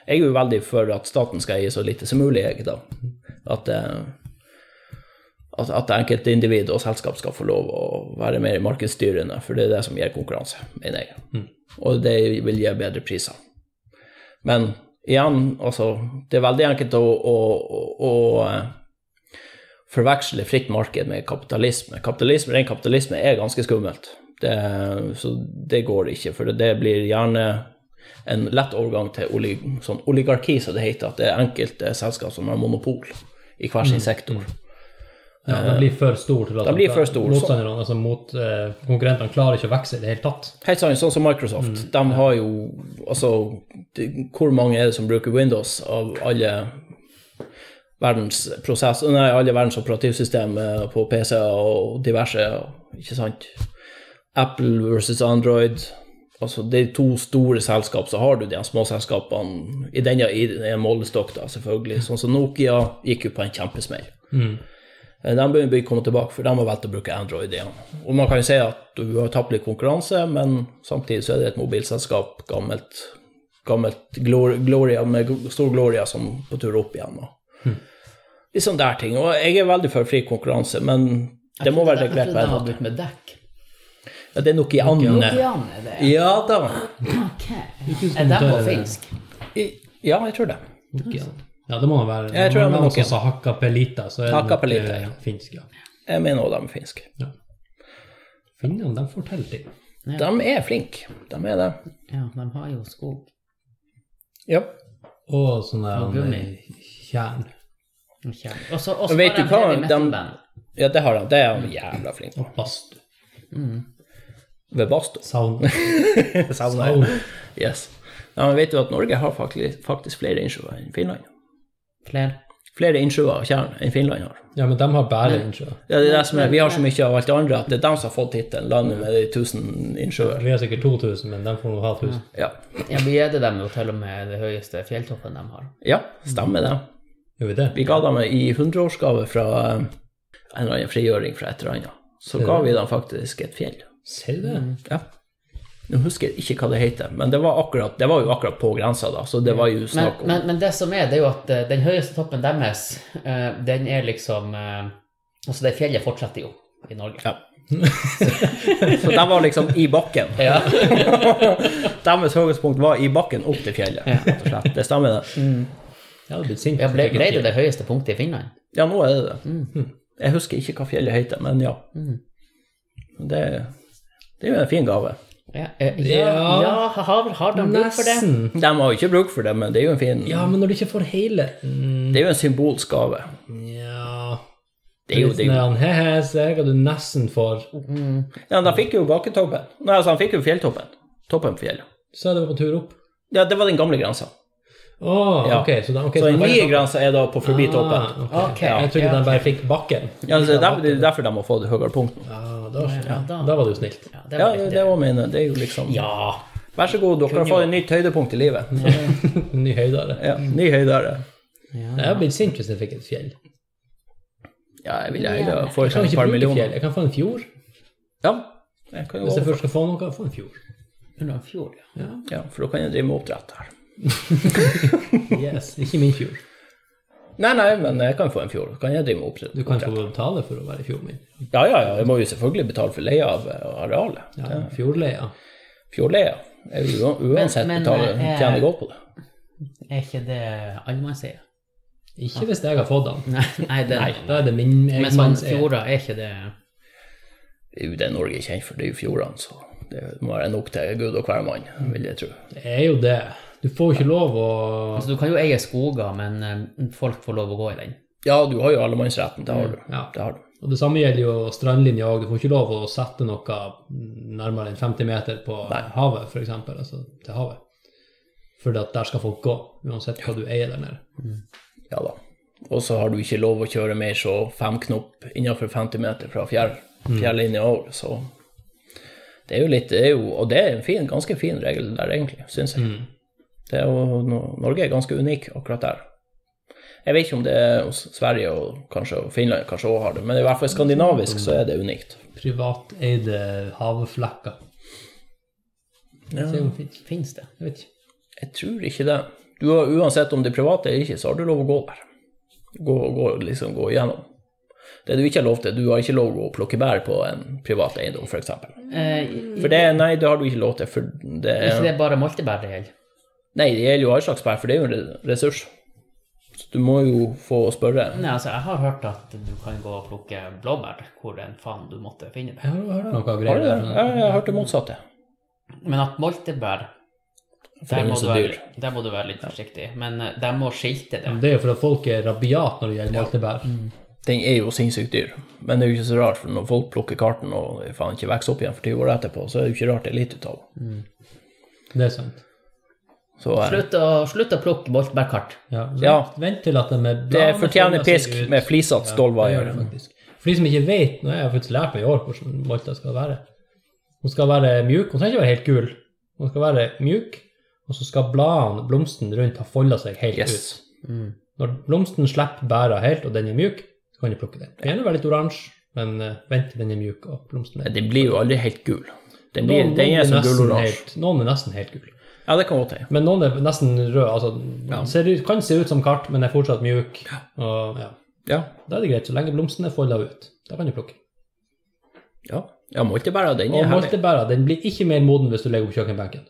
S3: Jeg er jo veldig for at staten skal eie så lite som mulig, jeg, da. At, eh, at, at enkeltindivid og selskap skal få lov å være mer markedsstyrende, for det er det som gir konkurranse, mener jeg. Og det vil gi bedre priser. Men igjen, altså, det er veldig enkelt å, å, å, å eh, forveksle fritt marked med kapitalisme. kapitalisme ren kapitalisme er ganske skummelt, det, så det går ikke. For det blir gjerne en lett overgang til oli, sånn oligarki, som det heter. At det er enkelte selskap som har monopol i hver sin sektor.
S2: Ja, den blir for stor til at
S3: Eh, Den blir for stor, så-
S2: motstanderne, altså mot eh, konkurrentene, klarer ikke å vokse i det hele tatt.
S3: Helt sant, sånn som Microsoft. De har jo Altså, det, hvor mange er det som bruker Windows av alle verdens prosess... Nei, alle verdens operativsystem eh, på PC-er og diverse, ikke sant? Apple versus Android. Altså, det er to store selskap, så har du de små selskapene i denne i en målestokk, da, selvfølgelig. Sånn som Nokia gikk jo på en kjempesmell. Eh, De begynner å komme tilbake, for de har valgt å bruke Android igjen. Og man kan jo si at du har tapt litt konkurranse, men samtidig så er det et mobilselskap, gammelt, gammelt glor- Gloria, med gl- stor Gloria, som på tur opp igjen. Og. Litt sånn der ting. Og jeg er veldig for fri konkurranse, men det må være
S1: Jeg
S3: regulert.
S1: trodde
S3: på
S1: den
S3: en
S1: har
S3: måte.
S1: begynt med dekk.
S3: Ja, det er Nokianene.
S1: Jan er det.
S3: Ja da.
S1: Ok. Er den på finsk?
S3: I- Ja, jeg tror det.
S2: Ja, det må være
S3: Jeg tror det
S2: det
S3: var
S2: var
S3: Nokia.
S2: noen som hakka pelita, så er det nok
S3: Hakkapelita,
S2: eh,
S3: ja.
S2: finsk, ja.
S3: Jeg mener også de er finske.
S2: Finnene, de får til ting.
S3: De er flinke, de er det.
S1: Ja, de har jo skog.
S3: Ja.
S2: Og sånne
S1: Og gummi.
S2: eh, tjern.
S1: og tjern. Og så og så
S3: Og vet
S1: har
S3: du
S1: de
S3: hva?
S1: heavy
S3: De-
S1: metal-band.
S3: ja, det har de. Det er de jævla flinke.
S2: Og bastu.
S3: Ved Basto.
S2: Sauna.
S3: Sauna.
S2: Sauna.
S3: Yes. Ja, men vet du at Norge har faktisk, faktisk flere innsjøer enn Finland?
S1: Flere.
S3: Flere innsjøer og tjern enn Finland har.
S2: Ja, men de har bare innsjøer.
S3: Ja, det er det som er, vi har så mye av alt det andre at det er dem som har fått tittelen 'Landet med de tusen innsjøer'.
S2: Vi har sikkert 2000, men de får nå ha 1000.
S3: Ja.
S1: Ja, vi gjedde dem jo til og med det høyeste fjelltoppen de har.
S3: ja, stemmer det.
S2: Gjør vi det?
S3: Vi ga dem i hundreårsgave fra eh, en eller annen frigjøring fra et eller annet. Så ga vi dem faktisk et fjell.
S2: Ser du
S1: Mm.
S2: det?
S3: Ja. Nå husker jeg ikke hva det heter, men det var, akkurat, det var jo akkurat på grensa, da, så det var jo
S1: Men,
S3: snakk om
S1: men, men det som er, det er jo at eh, den høyeste toppen deres, eh, den er liksom eh, Altså, det fjellet fortsetter jo i Norge.
S3: Ja. Så de var liksom i bakken.
S1: Ja.
S3: Deres høydepunkt var i bakken opp til fjellet, rett og slett. Det stemmer,
S1: Mm.
S3: det.
S2: Jeg hadde blitt sint.
S1: Ja, ble,
S2: hvis
S1: ble
S2: jeg
S1: det
S2: ikke-
S1: det høyeste punktet i Finland?
S3: Ja, nå er det det.
S1: Mm.
S3: Hm. Jeg husker ikke hva fjellet heter, men ja. Det, det er jo en fin gave.
S1: Ja, eh, ja,
S2: Ja.
S1: ja har, har de bruk for det?
S2: Nesten.
S3: De har jo ikke bruk for det, men det er jo en fin
S2: Ja, men når du ikke får hele Mm,
S3: Det er jo en symbolsk gave.
S2: Nja
S3: Det er jo det. er jo-
S2: He-he, se hva du nesten får.
S3: Ja, de fikk jo baketoppen. Nei, altså, han fikk jo fjelltoppen. Toppen på fjellet.
S2: Så er det på tur opp.
S3: Ja, det var den gamle grensa.
S2: Å,
S3: Ja.
S2: ok. Så, da, ok,
S3: Så
S2: de
S3: den
S2: bare-
S3: nye grensa er da på forbi toppen.
S2: Ah, ok.
S1: Ok,
S2: Jeg trodde
S1: ja.
S2: de bare fikk bakken.
S3: Ja, så det er derfor de har fått høyere punkt nå.
S2: Ah, da,
S1: Ja, da-
S2: da var det jo snilt.
S1: Ja, det
S3: Ja,
S1: var
S3: det,
S1: litt
S3: det var mine. Det er jo liksom
S1: Ja.
S3: Vær så god, dere har fått et nytt høydepunkt i livet. Så,
S2: Ny høydare.
S3: ja, ny høydere.
S2: Jeg hadde blitt sint hvis jeg fikk et fjell.
S3: Ja, jeg ville heller få
S2: Jeg kan
S3: et
S2: ikke
S3: par
S2: bruke
S3: millioner.
S2: fjell. Jeg kan få en fjord.
S3: Ja, jeg kan jo
S2: Hvis jeg først skal få noe, kan jeg få en fjord.
S1: Under en fjord, ja.
S3: ja, for da kan jeg drive med oppdrett her.
S2: Yes, Ikke min fjord.
S3: Nei, nei, men jeg kan få en fjord. Kan jeg drive med oppdrett?
S2: Du kan få betale for å være i fjorden min.
S3: Ja, ja, ja. Jeg må jo selvfølgelig betale for leie av eh, arealet.
S2: Ja, Fjordleia.
S3: Fjordleia. Jeg vil jo uansett
S1: Men- men,
S3: betale,
S1: eh,
S3: tjene godt på det.
S1: Er ikke det allemannseie?
S2: Ikke hvis jeg har fått den.
S1: Nei, nei, det,
S2: Da er det min egen
S1: men sånn
S2: manns eie.
S1: fjorder er ikke det
S3: Det er jo det Norge er kjent for, det er jo fjordene, så det må være nok til gud og hver mann, vil jeg tro.
S2: Det er jo det. Du får jo ikke lov å
S1: Altså, du kan jo eie skoger, men eh, folk får lov å gå i den.
S3: Ja, du har jo allemannsretten, det har du.
S2: Ja.
S3: Det har du.
S2: Og det samme gjelder jo strandlinja òg. Du får ikke lov å sette noe nærmere enn 50 meter på havet, f.eks. Altså til havet. For at der skal folk gå, uansett hva du eier der nede.
S3: Ja da. Og så har du ikke lov å kjøre mer så fem knop innenfor 50 meter fra fjær, fjærlinja over, så det er jo litt det er jo, Og det er en fin, ganske fin regel der, egentlig, syns jeg. Det er jo, no- Norge er ganske unik akkurat der. Jeg vet ikke om det er hos Sverige og kanskje og Finland kanskje også har det, men i hvert fall skandinavisk så er det unikt.
S2: Privateide havflekker.
S3: Ja.
S2: Se om det finnes.
S1: Fins det?
S2: Jeg vet ikke.
S3: Jeg tror ikke det. Du har, uansett om det er privat eller ikke, så har du lov å gå der. Gå, gå, liksom gå igjennom. Det du ikke har lov til, du har ikke lov å plukke bær på en privat eiendom, f.eks. For, eksempel.
S1: Eh,
S3: for det, nei, det har du ikke lov til. For det,
S1: ikke det er bare moltebær det gjelder?
S3: nei, det gjelder jo all slags bær, for det er jo en re- ressurs. Så du må jo få spørre.
S1: Nei, altså, jeg har hørt at du kan gå og plukke blåbær hvor den faen du måtte finne det.
S2: Jeg har hørt noe
S3: Har
S2: greier
S3: du det?
S2: der.
S3: Ja, jeg har hørt det motsatte.
S1: Men at moltebær
S3: det er
S1: der må,
S3: så
S1: du være,
S3: dyr.
S1: der må du være litt forsiktig. Men eh, de må skilte det.
S2: Men Det er jo for at folk er rabiat når det gjelder moltebær.
S3: Mm. Den er jo sinnssykt dyr, men det er jo ikke så rart, for når folk plukker karten og faen ikke vokser opp igjen for 20 år etterpå, så er det jo ikke rart det er litt ut av det.
S2: Det er sant.
S3: Så, eh,
S1: Slutt å, slutt å plukke moltebærkart.
S2: Ja, vent,
S3: Ja.
S2: vent til at de er
S3: Det
S2: bladene
S3: fortjener
S2: folder seg
S3: pisk
S2: ut.
S3: med flisete
S2: Det gjør
S3: stålvaier.
S2: det faktisk. For de som ikke vet, nå har jeg faktisk lært meg i år hvordan molta skal være. Den skal være mjuk, den skal ikke være helt gul. Den skal være mjuk, og så skal bladene, blomsten rundt, ha folda seg helt
S3: Yes.
S2: ut. Når blomsten slipper bæra helt, og den er mjuk, så kan du plukke den. Gjerne være litt oransje, men eh, vent til den er mjuk og blomsten er
S3: Den blir jo aldri helt gul. Den, blir, den er som
S2: nesten
S3: guloransje.
S2: helt- Noen er nesten helt gul.
S3: Ja, det kan godt hende.
S2: Men noen er nesten rød. Altså, ser ut, kan se ut som kart, men er fortsatt mjuk. Og, ja.
S3: Ja.
S2: Da er det greit, så lenge blomsten er folda ut. Da kan du plukke.
S3: ja. ja moltebæra, den
S2: Og
S3: er herlig.
S2: moltebæra den blir ikke mer moden hvis du legger på kjøkkenbenken.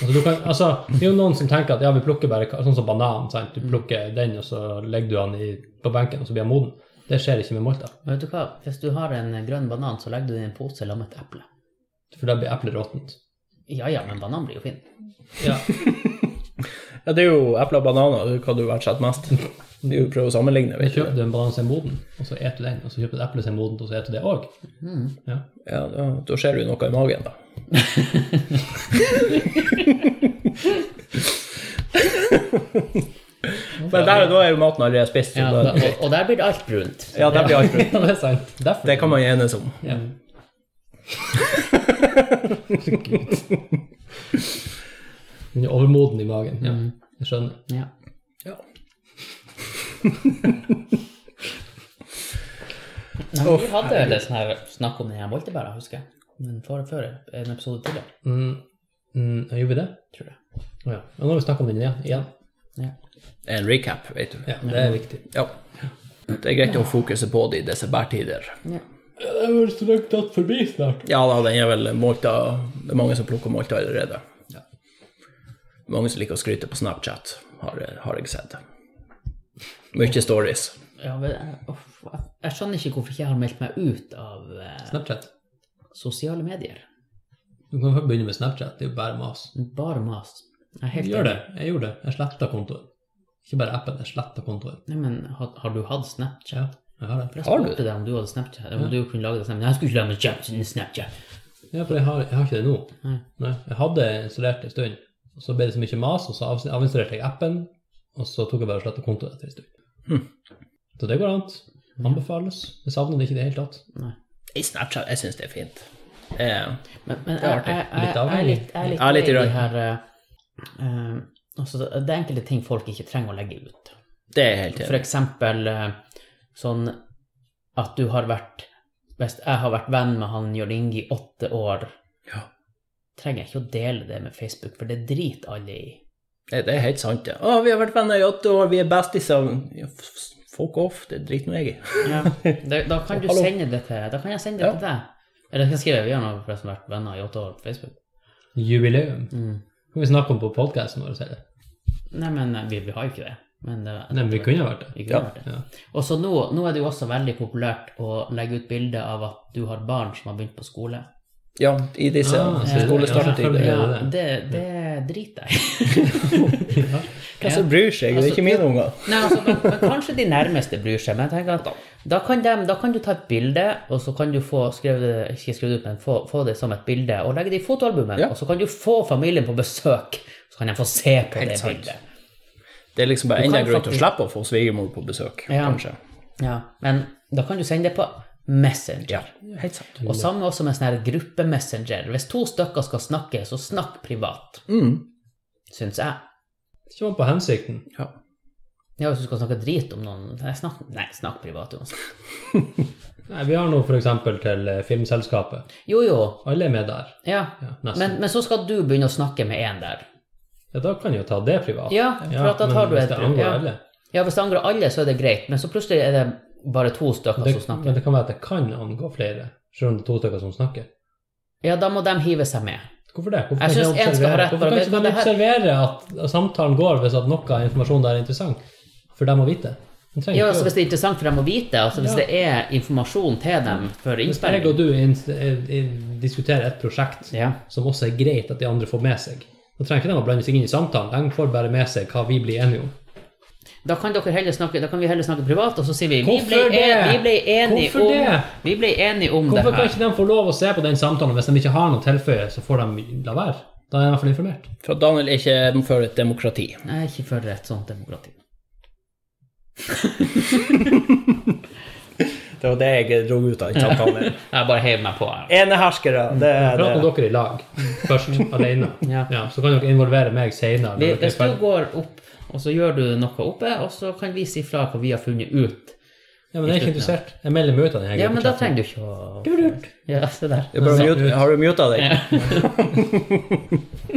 S2: Altså, du kan, altså, det er jo noen som tenker at ja, vi plukker bare ka- sånn som banan. Sant? Du plukker den, og så legger du den i, på benken, og så blir den moden. Det skjer ikke med molta,
S1: Men vet du hva, hvis du har en grønn banan, så legger du den i en pose sammen med et eple.
S2: for da blir eplet råttent.
S1: Ja ja, men banan blir jo fin.
S2: Ja.
S3: Ja, det er jo epler og bananer, det er hva du verdsetter mest. Det er jo å prøve å sammenligne,
S2: Da
S3: vet
S2: kjøper
S3: du.
S2: du en banan som er moden, og så eter du den. Og så kjøper du et eple som er modent, og så eter du det òg. Ja.
S3: Ja, da, da skjer det jo noe i magen, da. Men der, da er jo maten allerede spist. Så
S1: Ja,
S3: da,
S1: og, og der blir det alt brunt.
S3: ja, der blir alt brunt.
S2: Ja, det er sant. Derfor.
S3: Det kan man enes om.
S2: Ja. Den er overmoden i magen. Ja. Jeg skjønner.
S1: Ja.
S3: Ja.
S1: Nei, men vi hadde vel sånn her snakk om den her moltebæra, husker jeg. Men for, før en episode tidligere,
S2: Mm, mm, gjør vi det?
S1: tror jeg.
S2: Å ja. Og nå har vi snakket om den igjen. igjen.
S1: Ja.
S3: En recap, vet du.
S2: Ja, det er viktig.
S3: Ja. Det er greit å fokusere på det i desembertider.
S2: Det var strøkt tatt forbi snart.
S3: Ja da, den er vel molta Det er mange som plukker molta allerede. Mange som liker å skryte på Snapchat, har, har jeg sett. Mye stories.
S1: Ja, men, jeg- uff, jeg, jeg skjønner ikke hvorfor ikke jeg har meldt meg ut av eh,
S2: Snapchat.
S1: sosiale medier.
S2: Du kan jo begynne med Snapchat. Det er jo bare mas.
S1: Bare mas. Jeg er helt
S2: Gjør det. Jeg gjorde det. Jeg sletta kontoen. Ikke bare appen, jeg sletta kontoen.
S1: Nei, men har, har du hatt Snapchat?
S2: Ja, jeg har det.
S1: Jeg
S3: Har du
S1: spurte deg om du hadde Snapchat, om du kunne lage det Snapchat. Nei, Jeg skulle ikke lage meg Snapchat- Snapchat.
S2: Ja, for jeg har, jeg har ikke det nå.
S1: Nei.
S2: Nei, jeg hadde installert det en stund, og så ble det så mye mas, og så avs- avinstallerte jeg appen, og så tok jeg bare og slettet kontoen
S1: Hm.
S2: etter en stund. Så det går an. Anbefales. Jeg savner det ikke i det hele tatt.
S3: I Snapchat, jeg syns det er fint. Eh,
S1: Men, men
S3: er
S1: jeg,
S3: artig.
S1: jeg, jeg,
S2: Litt
S1: jeg er
S2: avhengig.
S1: litt, jeg er litt,
S3: Ja, litt i
S1: glad i
S3: røy.
S1: de her eh, eh, altså, Det er enkelte ting folk ikke trenger å legge ut.
S3: det er helt
S1: For
S3: enig.
S1: eksempel eh, sånn at du har vært Hvis jeg har vært venn med han Jørn Inge i åtte år,
S3: Ja.
S1: trenger jeg ikke å dele det med Facebook, for det driter alle i.
S3: Det det er helt sant, det. Å, vi har vært venner i åtte år, vi er bestiser. Ja, f- f- Fuck off, det driter nå jeg i.
S1: Da, da kan du
S3: Hallo.
S1: sende det til Da kan jeg sende det
S3: Ja.
S1: til deg. Eller jeg kan skrive vi har nå forresten vært venner i åtte år på Facebook.
S2: Jubileum.
S1: Mm.
S2: Kan vi snakke om på podkasten vår? sier jeg.
S1: Nei, men eh, vi, vi har jo ikke det. Men det,
S2: Nei, men vi kunne ha vært det.
S1: Vi kunne
S3: Ja.
S1: vært det.
S2: Ja.
S1: Og så nå, nå er det jo også veldig populært å legge ut bilder av at du har barn som har begynt på skole.
S3: Ja, i disse
S2: Ah, så-
S3: skolestarttider.
S2: ja,
S3: Ja,
S1: Ja,
S2: det.
S1: det, det driter jeg i.
S3: Hvem som bryr seg? Det er
S1: Altså,
S3: ikke mine unger.
S1: Nei, altså, men, men kanskje de nærmeste bryr seg. Men jeg tenker at da kan, dem- da kan du ta et bilde, og så kan du få skrevet det, ikke skrevet det ut, men få, få det som et bilde, og legge det i fotoalbumet.
S3: Ja.
S1: Og så kan du få familien på besøk, så kan de få se på
S3: Helt
S1: det
S3: sant.
S1: bildet.
S3: Det er liksom bare
S1: Du
S3: enda
S1: kan
S3: en grunn til å
S1: faktisk-
S3: slippe å få svigermor på besøk,
S1: Ja.
S3: kanskje.
S1: Ja, men da kan du sende det på Messenger.
S3: Ja, helt sant.
S1: Og samme også med sånn her gruppe-messenger. Hvis to stykker skal snakke, så snakk privat,
S3: Mm.
S1: syns jeg.
S2: Ikke man på hensikten.
S3: Ja.
S1: Ja, hvis du skal snakke drit om noen, nei, snakk, nei, snakk privat uansett.
S2: Nei, vi har nå f.eks. til eh, Filmselskapet.
S1: Jo, jo,
S2: Alle er med der.
S1: ja.
S2: Ja, nesten.
S1: Men, men så skal du begynne å snakke med én der.
S2: ja, da kan jeg jo ta det privat.
S1: Ja, for at da
S2: men
S1: tar du
S2: hvis
S1: et
S2: det angår
S1: ja.
S2: alle.
S1: Ja, hvis det angrer alle, så er det greit, men så plutselig er det bare to stykker
S2: Det,
S1: som Altså snakker.
S2: men det kan være at det kan angå flere, selv om det er to stykker som snakker.
S1: Ja, da må de hive seg med.
S2: Hvorfor det? Hvorfor
S1: Jeg
S2: kan
S1: synes
S2: ikke de
S1: en skal ha
S2: observere-
S1: rett,
S2: Hvorfor kan
S1: for
S2: ikke
S1: det-
S2: de observere at samtalen går hvis at noe av informasjonen der er interessant? For dem å vite. De trenger
S1: Ja,
S2: ikke
S1: altså
S2: å-
S1: Hvis det er interessant for dem å vite, altså hvis
S2: Ja.
S1: det er informasjon til dem for
S2: Hvis jeg og
S1: innspilling
S2: du inn- eh, inn- diskuterer et prosjekt
S1: ja.
S2: som også er greit at de andre får med seg, da trenger ikke de å blande seg inn i samtalen. De får bare med seg hva vi blir enige om.
S1: Da kan dere heller snakke Da kan vi heller snakke privat, og så sier vi Vi
S2: Hvorfor
S1: ble, en,
S2: det?
S1: vi ble enige
S2: Hvorfor det?
S1: om Vi ble enige om det
S2: Hvorfor kan
S1: her.
S2: ikke de få lov å se på den samtalen hvis de ikke har noe å tilføye, så får de la være? Da er de i hvert fall informert.
S3: For at Daniel ikke fører et demokrati.
S1: Jeg er ikke for et sånt demokrati.
S3: Det var det jeg dro ut av den samtalen.
S1: Jeg bare heiv meg på her.
S3: Eneherskere, det er
S2: Prat med dere i lag først, alene.
S1: Ja.
S2: Ja, så kan dere involvere meg senere.
S1: Vi,
S2: når dere er
S1: hvis du
S2: ferdig.
S1: går opp, og så gjør du noe oppe, og så kan vi si fra hva vi har funnet ut.
S2: Ja, men jeg er ikke interessert. Jeg melder meg ut av denne
S1: Ja, men da trenger du ikke å Ja, se der.
S3: Det er bare å mute- Har du muta deg?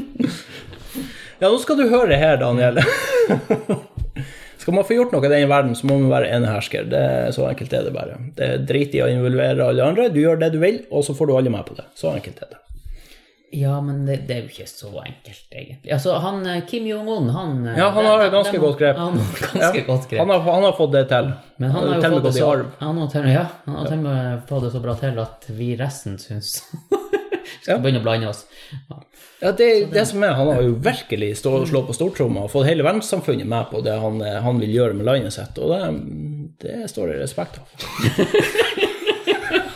S3: ja, nå skal du høre her, Daniel. skal man få gjort noe i den verden, så må man være enehersker. Det er så enkelt er det bare. Det er drit i å involvere alle andre. Du gjør det du vil, og så får du alle med på det. Så enkelt er det.
S1: Ja, men det, det er jo ikke så enkelt, egentlig. Altså, han eh, Kim Jong-un, han eh,
S3: Ja, han
S1: den-
S3: har et ganske
S1: den-
S3: godt grep.
S1: Han har ganske
S3: Ja,
S1: godt grep.
S3: Han har, han har fått det til.
S1: men han har jo
S3: Temmelig
S1: fått det
S3: gått i
S1: så,
S3: arv.
S1: han har til, ja, han har til og med fått det så bra til at vi resten syns Skal
S3: Ja.
S1: begynne å blande oss.
S3: Ja, det, er det Mm. som er, Han har jo virkelig stå, slå på stortromma og fått hele verdenssamfunnet med på det han, eh, han vil gjøre med landet sitt, og det, det står det respekt av.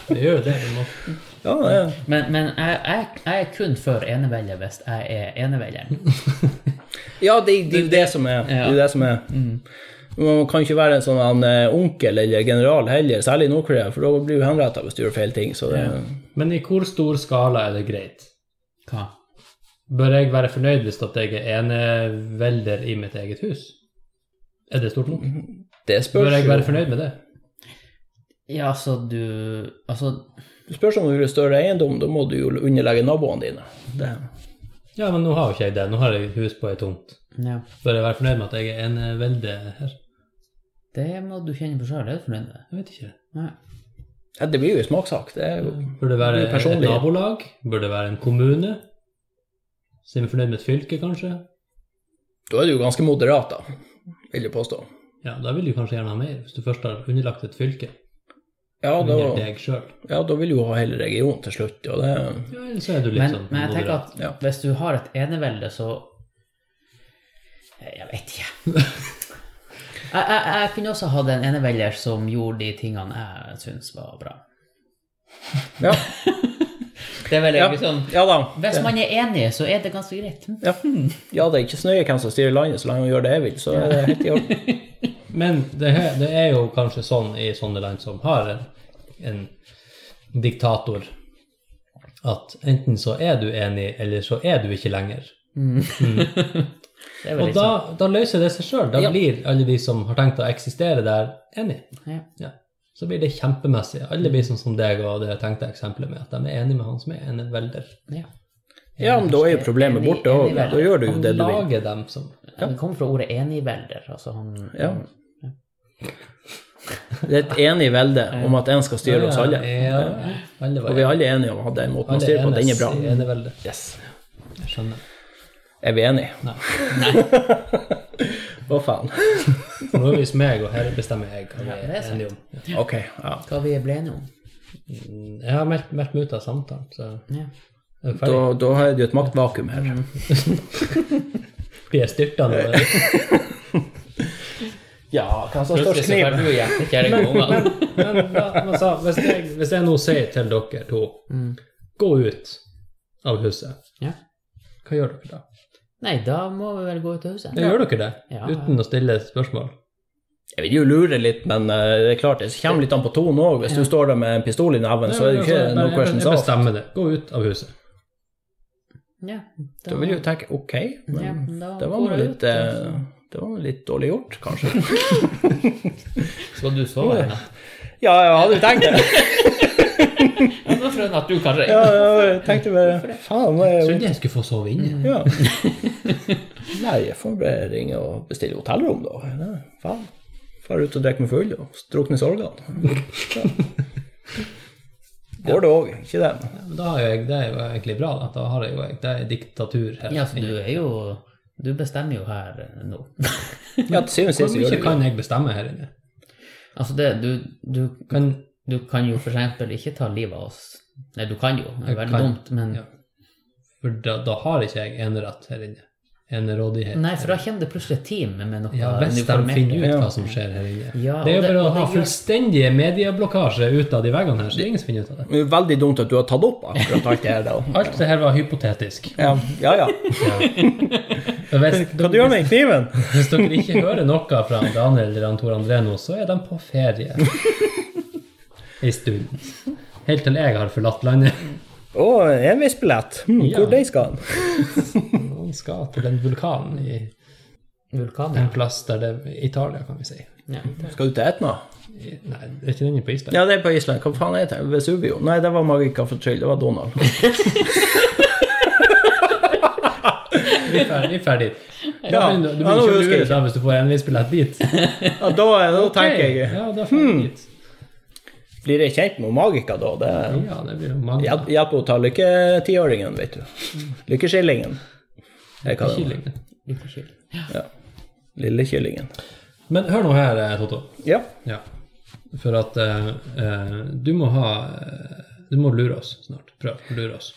S2: Det gjør jo det. men nå-
S3: Ja, det er
S1: Men, men jeg, jeg, jeg er kun for eneveldet hvis jeg er enevelleren.
S3: Ja, det, det, Mm. er jo det som er. Det er jo det som er. Man kan ikke være en sånn han, eh, onkel eller general heller, særlig i Nord-Korea, for da blir du henretta hvis du gjør feil ting. Så det,
S2: Men i hvor stor skala er det greit?
S1: Hva?
S2: Bør jeg være fornøyd hvis at jeg er enevelder i mitt eget hus? Er det stort nok?
S1: Mhm.
S3: det
S2: Bør
S3: spørs,
S2: jeg
S3: jo-
S2: være fornøyd med det?
S1: Ja, altså, du Altså,
S3: det spørs om du vil ha større eiendom, da må du jo underlegge naboene dine. Det.
S2: Ja, men nå har jo ikke jeg det. Nå har jeg et hus på ei tomt.
S1: ja.
S2: Bør jeg være fornøyd med at jeg er enevelde her?
S1: Det må du kjenne på sjøl, er du fornøyd med det?
S2: Jeg vet ikke.
S1: Nei.
S3: Ja, det blir jo en smaksak. Det er jo
S2: Bør det være
S3: Det er personlig.
S2: et nabolag? Bør det være en kommune? Så er vi fornøyd med et fylke, kanskje?
S3: Da er du jo ganske moderat, da, vil jeg påstå.
S2: Ja, da vil du kanskje gjerne ha mer, hvis du først har underlagt et fylke.
S3: Ja, da,
S2: Under deg sjøl.
S3: ja, da vil du jo ha hele regionen til slutt, og det
S2: Ja, eller så er du litt
S1: Men,
S2: sånn
S1: men jeg tenker at
S3: Ja.
S1: hvis du har et enevelde, så Jeg vet ikke. jeg, jeg, jeg kunne også hatt en enevelder som gjorde de tingene jeg syns var bra.
S3: Ja,
S1: Det er vel
S3: ja,
S1: egentlig sånn
S3: ja da.
S1: Hvis man er enig, så er det ganske greit.
S3: Ja. ja, det er ikke snøye hvem som styrer landet, så lenge man gjør det jeg vil, så er det helt i orden.
S2: Men det, he- det er jo kanskje sånn i sånne land som har en, en diktator at enten så er du enig, eller så er du ikke lenger.
S1: Det er vel
S2: Og
S1: litt sånn.
S2: da, da løser det seg sjøl. Da blir alle de som har tenkt å eksistere der, enig.
S1: sånn. Ja.
S2: Ja. Så blir det kjempemessig. Alle blir sånn som deg og det jeg tenkte eksempelet med, at de er enig med han som er enevelder.
S1: Ja.
S3: Ja, men da er jo problemet borte òg. Da gjør du jo
S2: Han
S3: det du vil.
S2: lager dem som
S1: Det kommer fra ordet enigvelder. Altså han,
S3: Ja. Det er et enig velde om at en skal styre oss alle.
S2: Ja, alle var
S3: Og vi er alle enige om at den måten man
S2: alle
S3: styrer på, den er
S2: enes
S3: bra.
S2: i eneveldet.
S3: Yes.
S2: Jeg skjønner.
S3: Er vi enige?
S2: Nei.
S3: Hva faen?
S2: For nå er vi hos meg, og her bestemmer jeg hva vi
S1: det
S2: er
S1: er sant.
S2: enige om. Ja.
S3: Ok, ja.
S1: Hva vi ble enige om.
S2: Jeg har meldt, meldt meg ut av samtalen, så
S1: Ja.
S2: er du
S3: Da,
S2: ferdig?
S3: da har du et maktvakuum her.
S2: Blir jeg styrta nå? eller?
S3: Ja, hva som
S1: Plutselig så får du hjertekjæring med ungene.
S2: Men, da, men så, hvis, jeg, hvis jeg nå sier til dere to
S3: Mm.
S2: Gå ut av huset.
S1: Ja.
S2: Hva gjør dere da?
S1: Nei, da må vi vel gå ut av huset.
S2: Ja, Gjør dere det?
S1: Ja.
S2: Uten å stille spørsmål?
S3: Jeg vil jo lure litt, men eh, det er klart, det kommer litt an på tonen òg. Hvis du står der med en pistol i neven, så er det jo
S2: Altså, bare-
S3: ikke no questions
S2: Jeg
S3: asked.
S2: bestemmer det. Gå ut av huset.
S1: Ja, da-
S3: Da vil jeg jo tenke ok,
S1: Ja,
S3: men
S1: da
S3: det var
S1: går
S3: nå
S1: jeg ut,
S3: litt eh, Det var nå litt dårlig gjort, kanskje.
S1: Skal du sove her? natt?
S3: Ja, jeg hadde jo tenkt det.
S1: Ja, da tror jeg at du kanskje
S3: Ja, jeg tenkte bare Faen, nå er jeg
S2: Trodde jeg skulle få sove inne.
S3: Ja. Nei, jeg får bare ringe og bestille hotellrom, da. Ja, faen. Far ut og drikke meg full og strukne sorgene. Ja. Går det òg, ikke det?
S2: Ja, men da har jo jeg, det er jo egentlig bra. Da, da har jeg jo jeg, det er diktatur her.
S1: Ja, så du er jo Du bestemmer jo her eh, nå.
S3: Ja, til syvende og
S2: Hvor
S3: sist gjør
S2: mye
S3: det jo
S2: kan jeg bestemme her inne?
S1: Altså, det Du, du,
S2: Kan,
S1: du kan jo for eksempel ikke ta livet av oss. Nei, du kan jo. Det er
S2: Jeg
S1: veldig
S2: kan.
S1: dumt, men
S2: Ja. for da, da har ikke jeg enerett her inne. Enerådighet.
S1: Nei, for da kommer det plutselig et team med noe
S2: Ja, hvis de
S1: uniformert.
S2: finner ut
S3: Ja.
S2: hva som skjer her inne.
S1: Ja, og
S2: det er jo
S1: det-
S2: bare å
S1: og
S2: ha
S1: det gjør-
S2: fullstendige medieblokkasje ut av de veggene her, så ingen som finner ut av det.
S3: Det er jo veldig dumt at du har tatt opp akkurat alt det her. da.
S2: Alt det her var hypotetisk.
S3: Ja, ja. ja.
S2: For Hvis,
S3: Hva du gjør med kniven?
S2: hvis dere ikke hører noe fra Daniel eller han Tor André nå, så er de på ferie. Ei stund. Helt til jeg har forlatt landet.
S3: Å, enveisbillett. Hm,
S2: Ja.
S3: Hvor de skal han?
S2: Han skal til den vulkanen i
S1: Vulkaner.
S2: en plass der det Italia, kan vi si.
S1: Ja.
S3: Skal du til Etna?
S2: I- Nei, det er ikke den på Island?
S3: Ja, det er på Island. Hva faen er det? Vesuvio? Nei, det var Magica for Trill. Det var Donald.
S2: Vi er ferdig. Vi er ferdig.
S3: Ja,
S2: Da blir du- du
S3: ja, nå
S2: blir ikke
S3: husker jeg.
S2: lurt da hvis du får enveisbillett dit.
S3: Ja, da, da tenker
S2: Ok,
S3: jeg
S2: Ja, da får jeg Hmm. dit.
S3: Blir jeg kjent med Magica da? Det er
S2: Ja, det blir jo mange.
S3: Hjelp hjelp henne å ta lykketiåringen, vet du. Lykkeskillingen. Jeg kaller den
S2: Kylling.
S1: Litt chill.
S3: Lillekyllingen.
S2: Men hør nå her, eh, Toto.
S3: Ja.
S2: Ja. For at eh, eh, du må ha eh, Du må lure oss snart. Prøv å lure oss.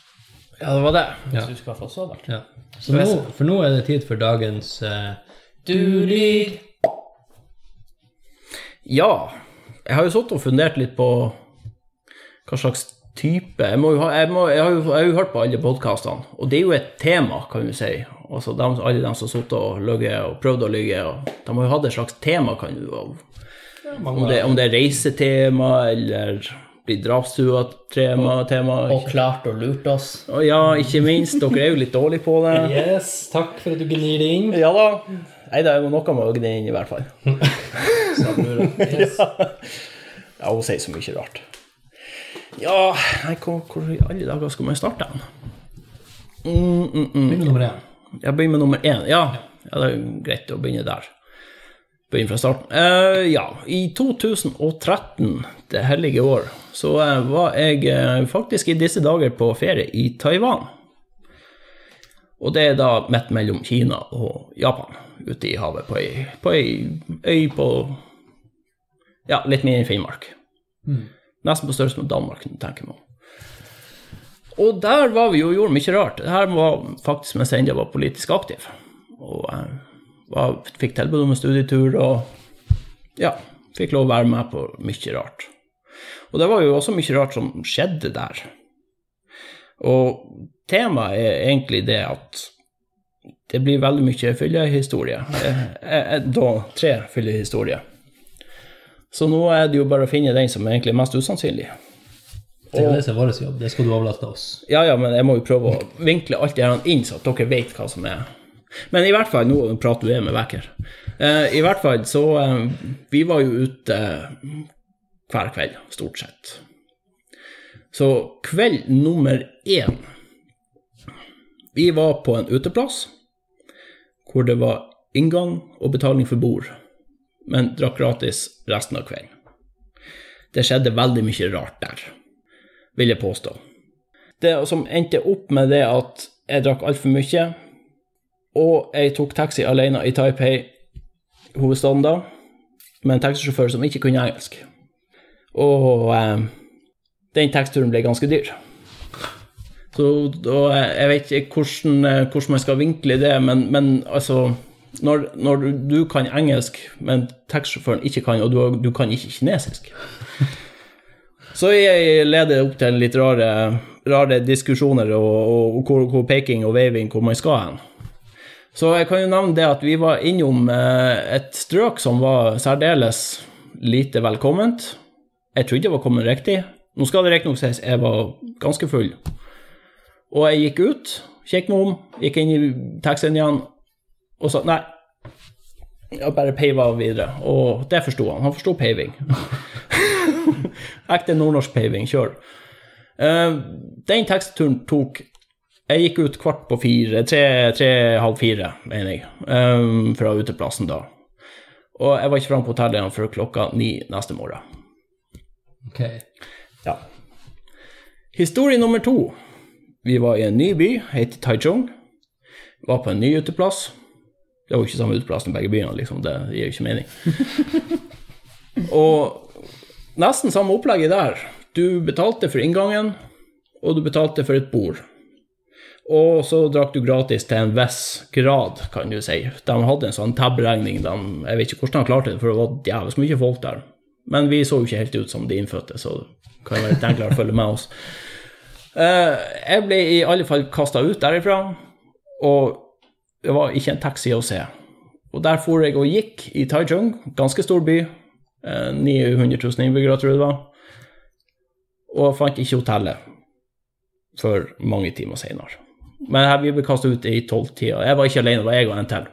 S3: ja, det var det.
S1: Du skal få sove.
S2: Ja. Så nå, for nå er det tid for dagens eh, Du lyver!
S3: Ja. Jeg har jo sittet og fundert litt på hva slags type Jeg, må jo ha, jeg, må, jeg, har, jo, jeg har jo hørt på alle podkastene, og det er jo et tema, kan du si. Altså, dem- alle de som har sittet og løyet og prøvd å lyve, de har jo hatt et slags tema, kan du jo om det, om det er reisetema eller blir drapstrua tema, tema
S1: Og klart og lurt oss.
S3: Og Ja, ikke minst. Dere er jo litt dårlige på det.
S2: Yes, takk for at du gnir det inn.
S3: Ja da. Nei, det er jo noe med å gni inn, i hvert fall.
S2: Yes.
S3: Ja, hun sier så mye rart. Ja, nei, hvor, hvor i alle dager skal man starte den? Mm, mm, mm.
S2: Begynn med nummer én.
S3: Jeg begynner med nummer én. Ja. ja, det er jo greit å begynne der. Begynne fra starten. Eh, ja, i 2013, det hellige år, så eh, var jeg eh, faktisk i disse dager på ferie i Taiwan. Og det er da midt mellom Kina og Japan, ute i havet, på ei, på ei øy på Ja, litt mindre enn Finnmark. Nesten på størrelse med Danmark, tenker jeg meg om. Og der var vi jo og gjorde mye rart. Det her var faktisk mens jeg ennå var politisk aktiv. Og eh, var, fikk tilbud om en studietur og ja, fikk lov å være med på mye rart. Og det var jo også mye rart som skjedde der. Og temaet er egentlig det at det blir veldig mye fyllehistorie. Eh, eh, Da tre fyllehistorier. Så nå er det jo bare å finne den som er egentlig mest usannsynlig.
S2: Det er jo det som er vår jobb. Det skal du overlate oss.
S3: Ja, ja, men jeg må jo prøve å vinkle alt det her inn, så at dere vet hva som er Men i hvert fall, nå prater du med Vekker. Eh, I hvert fall, så eh, Vi var jo ute eh, hver kveld, stort sett. Så kveld nummer én Vi var på en uteplass hvor det var inngang og betaling for bord, men drakk gratis resten av kvelden. Det skjedde veldig mye rart der, vil jeg påstå. Det som endte opp med det at jeg drakk altfor mye, og jeg tok taxi alene i Taipei, hovedstaden da, med en taxisjåfør som ikke kunne engelsk. Og eh, den taxituren ble ganske dyr. Så da, eh, jeg vet ikke hvordan, eh, hvordan man skal vinkle det, men, men altså når, når du kan engelsk, men taxisjåføren ikke kan, og du, du kan ikke kinesisk Så jeg leder opp til litt rare, rare diskusjoner og, og, og hvor, hvor peking og waving hvor man skal hen. Så jeg kan jo nevne det at vi var innom eh, et strøk som var særdeles lite velkomment. Jeg trodde jeg var kommet riktig. Nå skal det riktignok sies jeg var ganske full. Og jeg gikk ut, kjekk meg om, gikk inn i taxien igjen og sa nei. Jeg bare peiva videre. Og det forsto han. Han forsto peiving. Ekte nordnorsk peiving. Kjør. Eh, den taxituren tok Jeg gikk ut kvart på fire, tre, tre halv fire, mener jeg, eh, fra uteplassen da. Og jeg var ikke framme på hotellet igjen før klokka ni neste morgen.
S2: Ok.
S3: Ja. Historie nummer to. Vi var i en ny by, het Taichung. Var på en ny uteplass. Det var jo ikke samme uteplass i begge byene, liksom. Det gir jo ikke mening. og nesten samme opplegget der. Du betalte for inngangen, og du betalte for et bord. Og så drakk du gratis til en viss grad, kan du si. De hadde en sånn tab-regning. de- Jeg vet ikke hvordan de klarte det, for det var jævlig mye folk der. Men vi så jo ikke helt ut som de innfødte, så det kan være litt enklere å følge med oss. Eh, jeg ble i alle fall kasta ut derifra, og det var ikke en taxi å se. Og der for jeg og gikk i Taichung, ganske stor by, eh, 900 000 innbyggere, tror jeg det var, og fant ikke hotellet før mange timer senere. Men her vi ble kasta ut i tolvtida. Jeg var ikke alene, det var jeg og en til.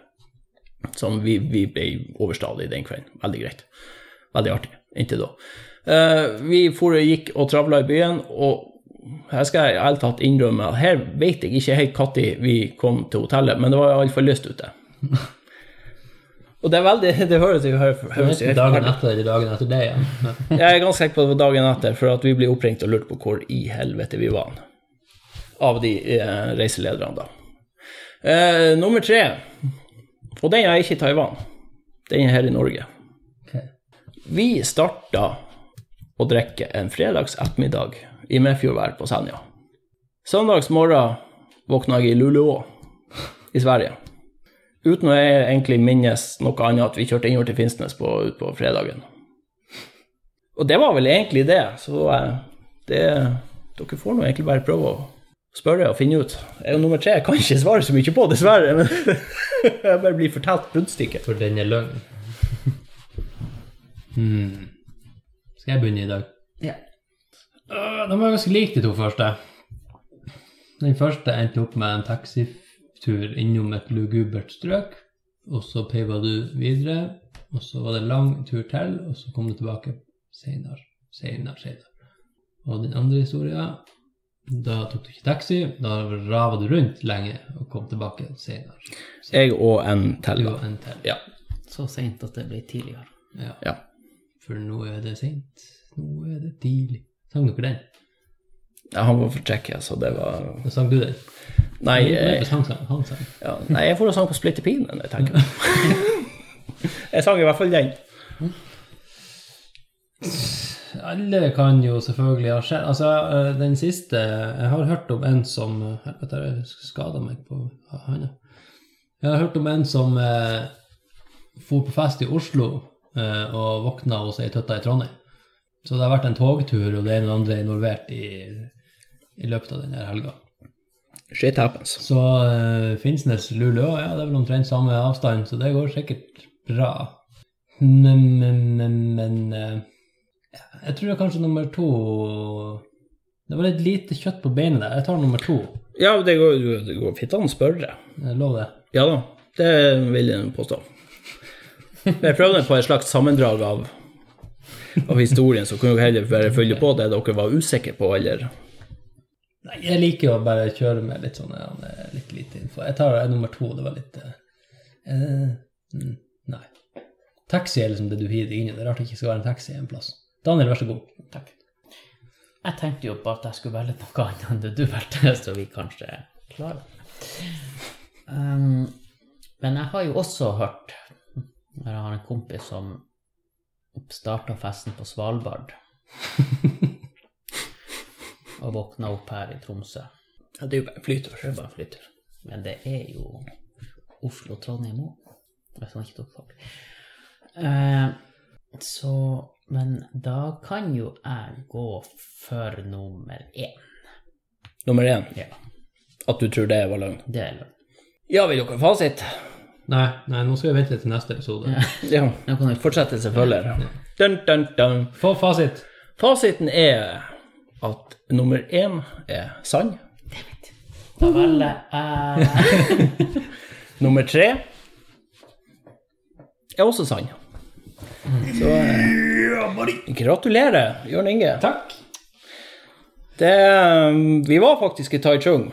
S3: Som vi, vi ble overstadige den kvelden. Veldig greit. Veldig artig. Inntil da. Eh, vi for og gikk og travla i byen, og her skal jeg ærlig talt innrømme at her vet jeg ikke helt når vi kom til hotellet, men det var iallfall lyst ute. Og det er veldig Det høres jo hø- høres jo helt
S2: Dagen
S3: forferdelig
S2: etter eller dagen etter det, ja. ja.
S3: jeg er ganske sikker på at det var dagen etter, for at vi ble oppringt og lurt på hvor i helvete vi var. Av de eh, reiselederne, da. Eh, nummer tre, og den er ikke i Taiwan, den er her i Norge.
S2: Ok.
S3: Vi starta å drikke en fredags ettermiddag i Medfjordvær på Senja. Søndags morgen våkna jeg i Luleå i Sverige. Uten å jeg egentlig minnes noe annet at vi kjørte innover til Finnsnes på, ut på fredagen. Og det var vel egentlig det. Så eh, det Dere får nå egentlig bare prøve å spørre og finne ut. Jeg er jo nummer tre. Jeg kan ikke svare så mye på, dessverre. Men jeg bare blir fortalt bruddstykket.
S2: For den er løgn. Hmm. Skal jeg begynne i dag?
S1: Ja.
S2: Øh, de var ganske like, de to første. Den første endte opp med en taxitur innom et lugubert strøk. Og så peiva du videre, og så var det en lang tur til, og så kom du tilbake seinere, seinere, seinere. Og den andre historia Da tok du ikke taxi, da rava du rundt lenge og kom tilbake seinere.
S3: Jeg og en
S2: Du
S3: til. da.
S2: og en til.
S3: Ja.
S1: Så seint at det blir tidligere.
S2: Ja.
S3: ja.
S2: For nå er det seint, nå er det tidlig. Sang dere den?
S3: Ja, Han var for Tsjekkia, så det var
S2: Da sang du den?
S3: Nei,
S2: jeg...
S3: jeg,
S2: sang, sang, han sang.
S3: ja, nei, jeg får og sang på Splitter Pinen, jeg tenker. Jeg sang i hvert fall den.
S2: Alle kan jo selvfølgelig ha skjedd Altså, eh, den siste Jeg har hørt om en som eh, Helvete, jeg skada meg på handa. Jeg har hørt om en som eh, for på fest i Oslo eh, og våkna hos ei tøtta i Trondheim. Så det har vært en togtur, og det ene og det andre er involvert i, i løpet av denne helga.
S3: Shit happens.
S2: Så eh, Finnsnes-Luleå, ja, det er vel omtrent samme avstand, så det går sikkert bra. Men, men, men, men eh, Jeg tror kanskje nummer to Det var litt lite kjøtt på beinet der. Jeg tar nummer to.
S3: Ja, det går, det går fint an å spørre.
S2: Jeg lover det.
S3: Ja da, det vil jeg påstå. Men jeg prøvde på et slags sammendrag av, av historien, så kunne dere heller bare følge på det dere var usikre på, eller
S2: Nei, jeg liker jo å bare kjøre med litt sånn ja, det er litt lite info. Jeg tar eh, nummer to. Det var litt eh, eh, mm, Nei. Taxi er liksom det du hiver deg inn i. Det er rart det ikke skal være en taxi en plass. Daniel, vær så god.
S1: Takk. Jeg tenkte jo på at jeg skulle velge noe annet enn det du valgte, så vi kanskje klarer det. Um, men jeg har jo også hørt Jeg har en kompis som starta festen på Svalbard. og våkna opp her i Tromsø.
S3: Ja, det er jo bare flytur.
S1: Det er bare flytur. Men det er jo Oslo-Trondheim òg, hvis han ikke tok tak. Eh, så Men da kan jo jeg gå for nummer én.
S3: Nummer én,
S1: Ja,
S3: at du tror det var løgn.
S1: det er løgn.
S3: Ja, vil dere ha fasit?
S2: Nei, nei, nå skal vi vente til neste episode.
S3: Ja.
S1: Nå kan vi fortsette.
S3: Fortsettelse følger. Dun, dun, dun.
S2: Få fasit.
S3: Fasiten er at nummer én er sann.
S1: Da velger jeg
S3: Nummer tre er også sann. Så eh, Gratulerer, Jørn Inge.
S2: Takk.
S3: Det, eh, vi var faktisk i Taichung,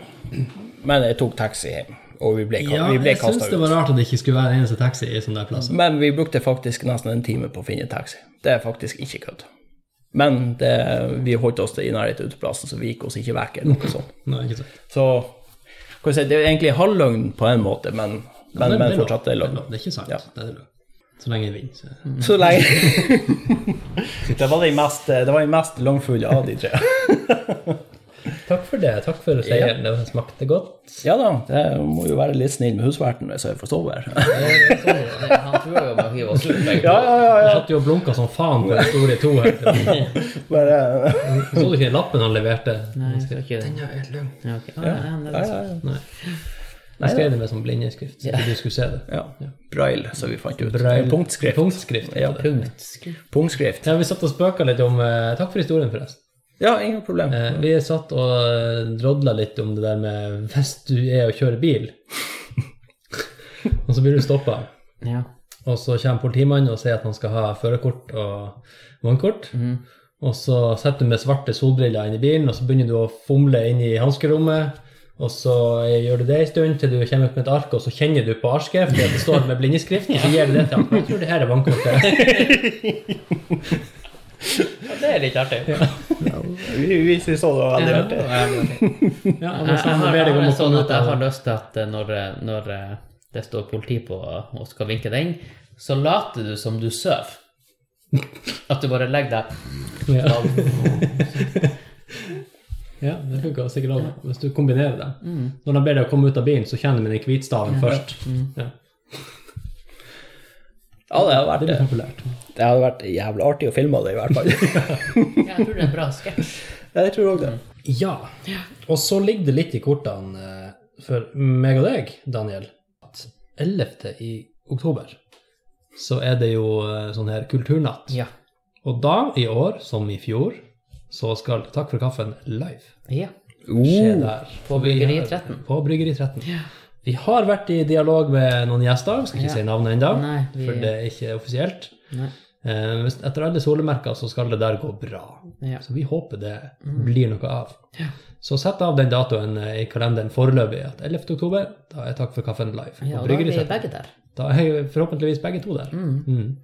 S3: men jeg tok taxi hjem. Og vi ble,
S2: Ja,
S3: vi ble
S2: jeg syns
S3: kasta
S2: det var
S3: ut.
S2: rart at det ikke skulle være en eneste taxi i sånne der plasser.
S3: Men vi brukte faktisk nesten en time på å finne taxi. Det er faktisk ikke kødd. Men det, vi holdt oss i nærheten av uteplassen, så vi gikk oss ikke vekk. eller noe sånt.
S2: Nei, ikke sant.
S3: Så kan vi si, det er egentlig halvløgn på en måte, men, men, men
S2: lov.
S3: fortsatt det er
S2: Det
S3: løgn.
S2: lov. Det er ikke sant.
S3: Ja.
S2: Det er lov. Så lenge jeg vinner. Så.
S3: Så lenge Det var de mest, det var de mest løgnfulle av de tre.
S2: Takk for det. Takk for seieren. Det smakte godt.
S3: Ja da, det må jo være litt snill med husverten hvis jeg får sove her.
S1: eh, Han tror jo bare hiver oss ut begge
S3: Ja, ja, ja.
S2: Jeg satt jo og blunka som faen på historie to her.
S3: Bare,
S2: Så du ikke lappen han leverte?
S1: Nei, jeg skal ikke det.
S2: er helt løgn.
S1: Ja, ok. Ah, ja, det
S3: ja,
S1: er
S3: ja, ja.
S2: Jeg skrev det med sånn blindeskrift, så ikke du skulle se det.
S3: ja. Braille, som vi fant ut.
S2: Braille.
S3: Punktskrift.
S2: Punktskrift.
S3: Ja.
S1: punkt.
S3: Punktskrift.
S2: Ja, vi satt og spøka litt om eh, Takk for historien, forresten.
S3: Ja, ingen problem.
S2: Eh, vi satt og eh, drodla litt om det der med hvis du er og kjører bil, og så blir du stoppa,
S1: Ja.
S2: og så kommer politimannen og sier at han skal ha førerkort og vognkort,
S1: Mhm.
S2: og så setter du med svarte solbriller inn i bilen, og så begynner du å fomle inn i hanskerommet. Og så gjør du det en stund til du kommer opp med et ark, og så kjenner du på arket, fordi at det står med blindeskrift, og så gir du det til han. Jeg tror det her er vannkortet.
S1: Det er litt artig.
S3: Vi, vi synes også det var veldig artig.
S2: Ja,
S1: Jeg, jeg, har, jeg, har, sånn at jeg har lyst til at eh, når, eh, når eh, det står politi på eh, og skal vinke deg inn, så later du som du sover. At du bare legger deg
S2: Ja. ja, det funker sikkert også, hvis du kombinerer det. Når de ber deg å komme ut av bilen, så kjenner vi den hvitstaven først. Ja. Mm.
S3: Ja, det hadde
S2: Det
S3: vært eh,
S2: blir populært.
S3: Det hadde vært jævlig artig å filme det, i hvert fall.
S1: Jeg tror det er en bra sketsj.
S3: jeg tror også det.
S2: Ja, og så ligger det litt i kortene eh, for meg og deg, Daniel, at 11. i oktober så er det jo eh, sånn her kulturnatt.
S1: Ja.
S2: Og da, i år, som i fjor, så skal Takk for kaffen live.
S1: ja.
S3: Oh.
S2: skje der.
S1: på Bryggeri 13.
S2: På Bryggeri 13. Vi har vært i dialog med noen gjester, skal ikke
S1: Ja.
S2: si navnet ennå,
S1: Nei, vi-
S2: for det er ikke offisielt.
S1: Nei.
S2: Eh, hvis- etter alle solemerker så skal det der gå bra.
S1: Ja. Mm.
S2: Så vi håper det blir noe av. Så sett av den datoen eh, i kalenderen foreløpig. at 11. oktober, da er Takk for kaffen live. på
S1: ja og da er
S2: Bryggeri
S1: vi
S2: 13.
S1: begge der.
S2: Da er jo forhåpentligvis begge to der. Mm.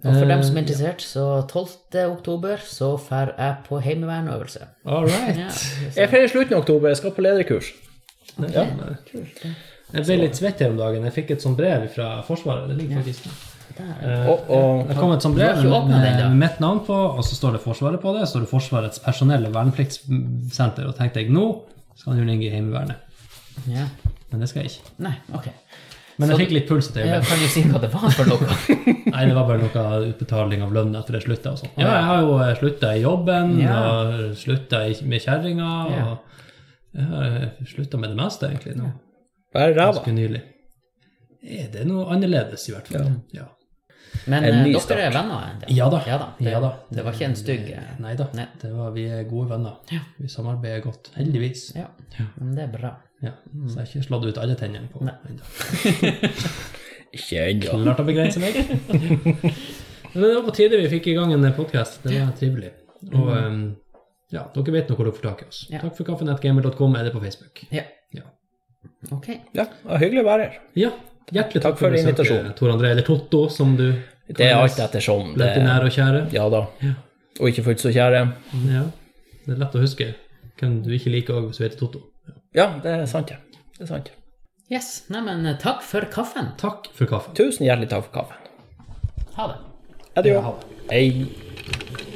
S1: Og for dem som er
S3: Eh,
S1: interessert, så 12. oktober så drar jeg på heimevernøvelse.
S2: All right.
S1: Ja, så-
S3: Jeg feirer slutten av oktober, jeg skal på lederkurs.
S2: Ja. Jeg ble litt svett her om dagen. Jeg fikk et sånt brev fra Forsvaret. Det ligger faktisk
S1: der.
S3: Og, og
S2: Det kom et sånt
S1: Du har ikke
S2: brev med,
S1: åpnet den, da?
S2: med mitt navn på, og så står det Forsvaret på det. Så står det Forsvarets personell- og vernepliktssenter. Og tenkte jeg nå skal han jo ligge i Heimevernet.
S1: Ja.
S2: Men det skal jeg ikke.
S1: Nei, ok.
S2: Men
S1: Så-
S2: jeg fikk litt puls etter
S1: Jeg
S2: det.
S1: kan jo si hva det var for noe.
S2: Nei, det var bare noe utbetaling av lønn etter jeg slutta og sånn. Ja, jeg har jo slutta i jobben,
S1: Ja.
S2: og slutta med kjerringa,
S1: Ja.
S2: og jeg har slutta med det meste, egentlig, nå.
S3: bare ræva.
S2: Ganske nylig. Er det noe annerledes, i hvert fall? Ja.
S1: Men
S3: En
S1: eh,
S3: ny
S1: dere
S3: start.
S1: er venner ennå?
S2: Ja da.
S1: Ja da. Det,
S2: Ja da.
S1: det var ikke en stygg eh,
S2: Nei da.
S1: Nei.
S2: Det var, vi er gode venner.
S1: Ja.
S2: Vi samarbeider godt. Heldigvis.
S1: Ja, men det er bra.
S2: Ja. Så jeg har ikke slått ut alle tennene på ennå.
S3: Ikke ennå.
S2: Klart å begrense meg. Men det var på tide vi fikk i gang en podkast. Det var trivelig. Og ehm, ja, dere vet nå hvor dere får tak i oss.
S1: Mm. Ja.
S2: Takk for kaffenettgamer.com er det på Facebook.
S1: Ja.
S2: Ja.
S1: Ok.
S3: Ja, det var hyggelig å være her.
S2: ja. Hjertelig
S3: Takk for
S2: besøket,
S3: invitasjonen.
S2: Tor André, eller Totto, som du
S3: Det er alt ettersom. Det,
S2: Blant de nære og kjære.
S3: ja da. Og ikke fullt så kjære.
S2: Ja. Det er lett å huske hvem du ikke liker òg, hvis du heter Totto.
S3: Ja, det er sant, det. Det er sant.
S1: Yes. Neimen, takk for kaffen.
S2: Takk for kaffen.
S3: Tusen hjertelig takk for kaffen.
S1: Ha det.
S3: Adjø.
S2: Ja, ha det.
S3: Hei.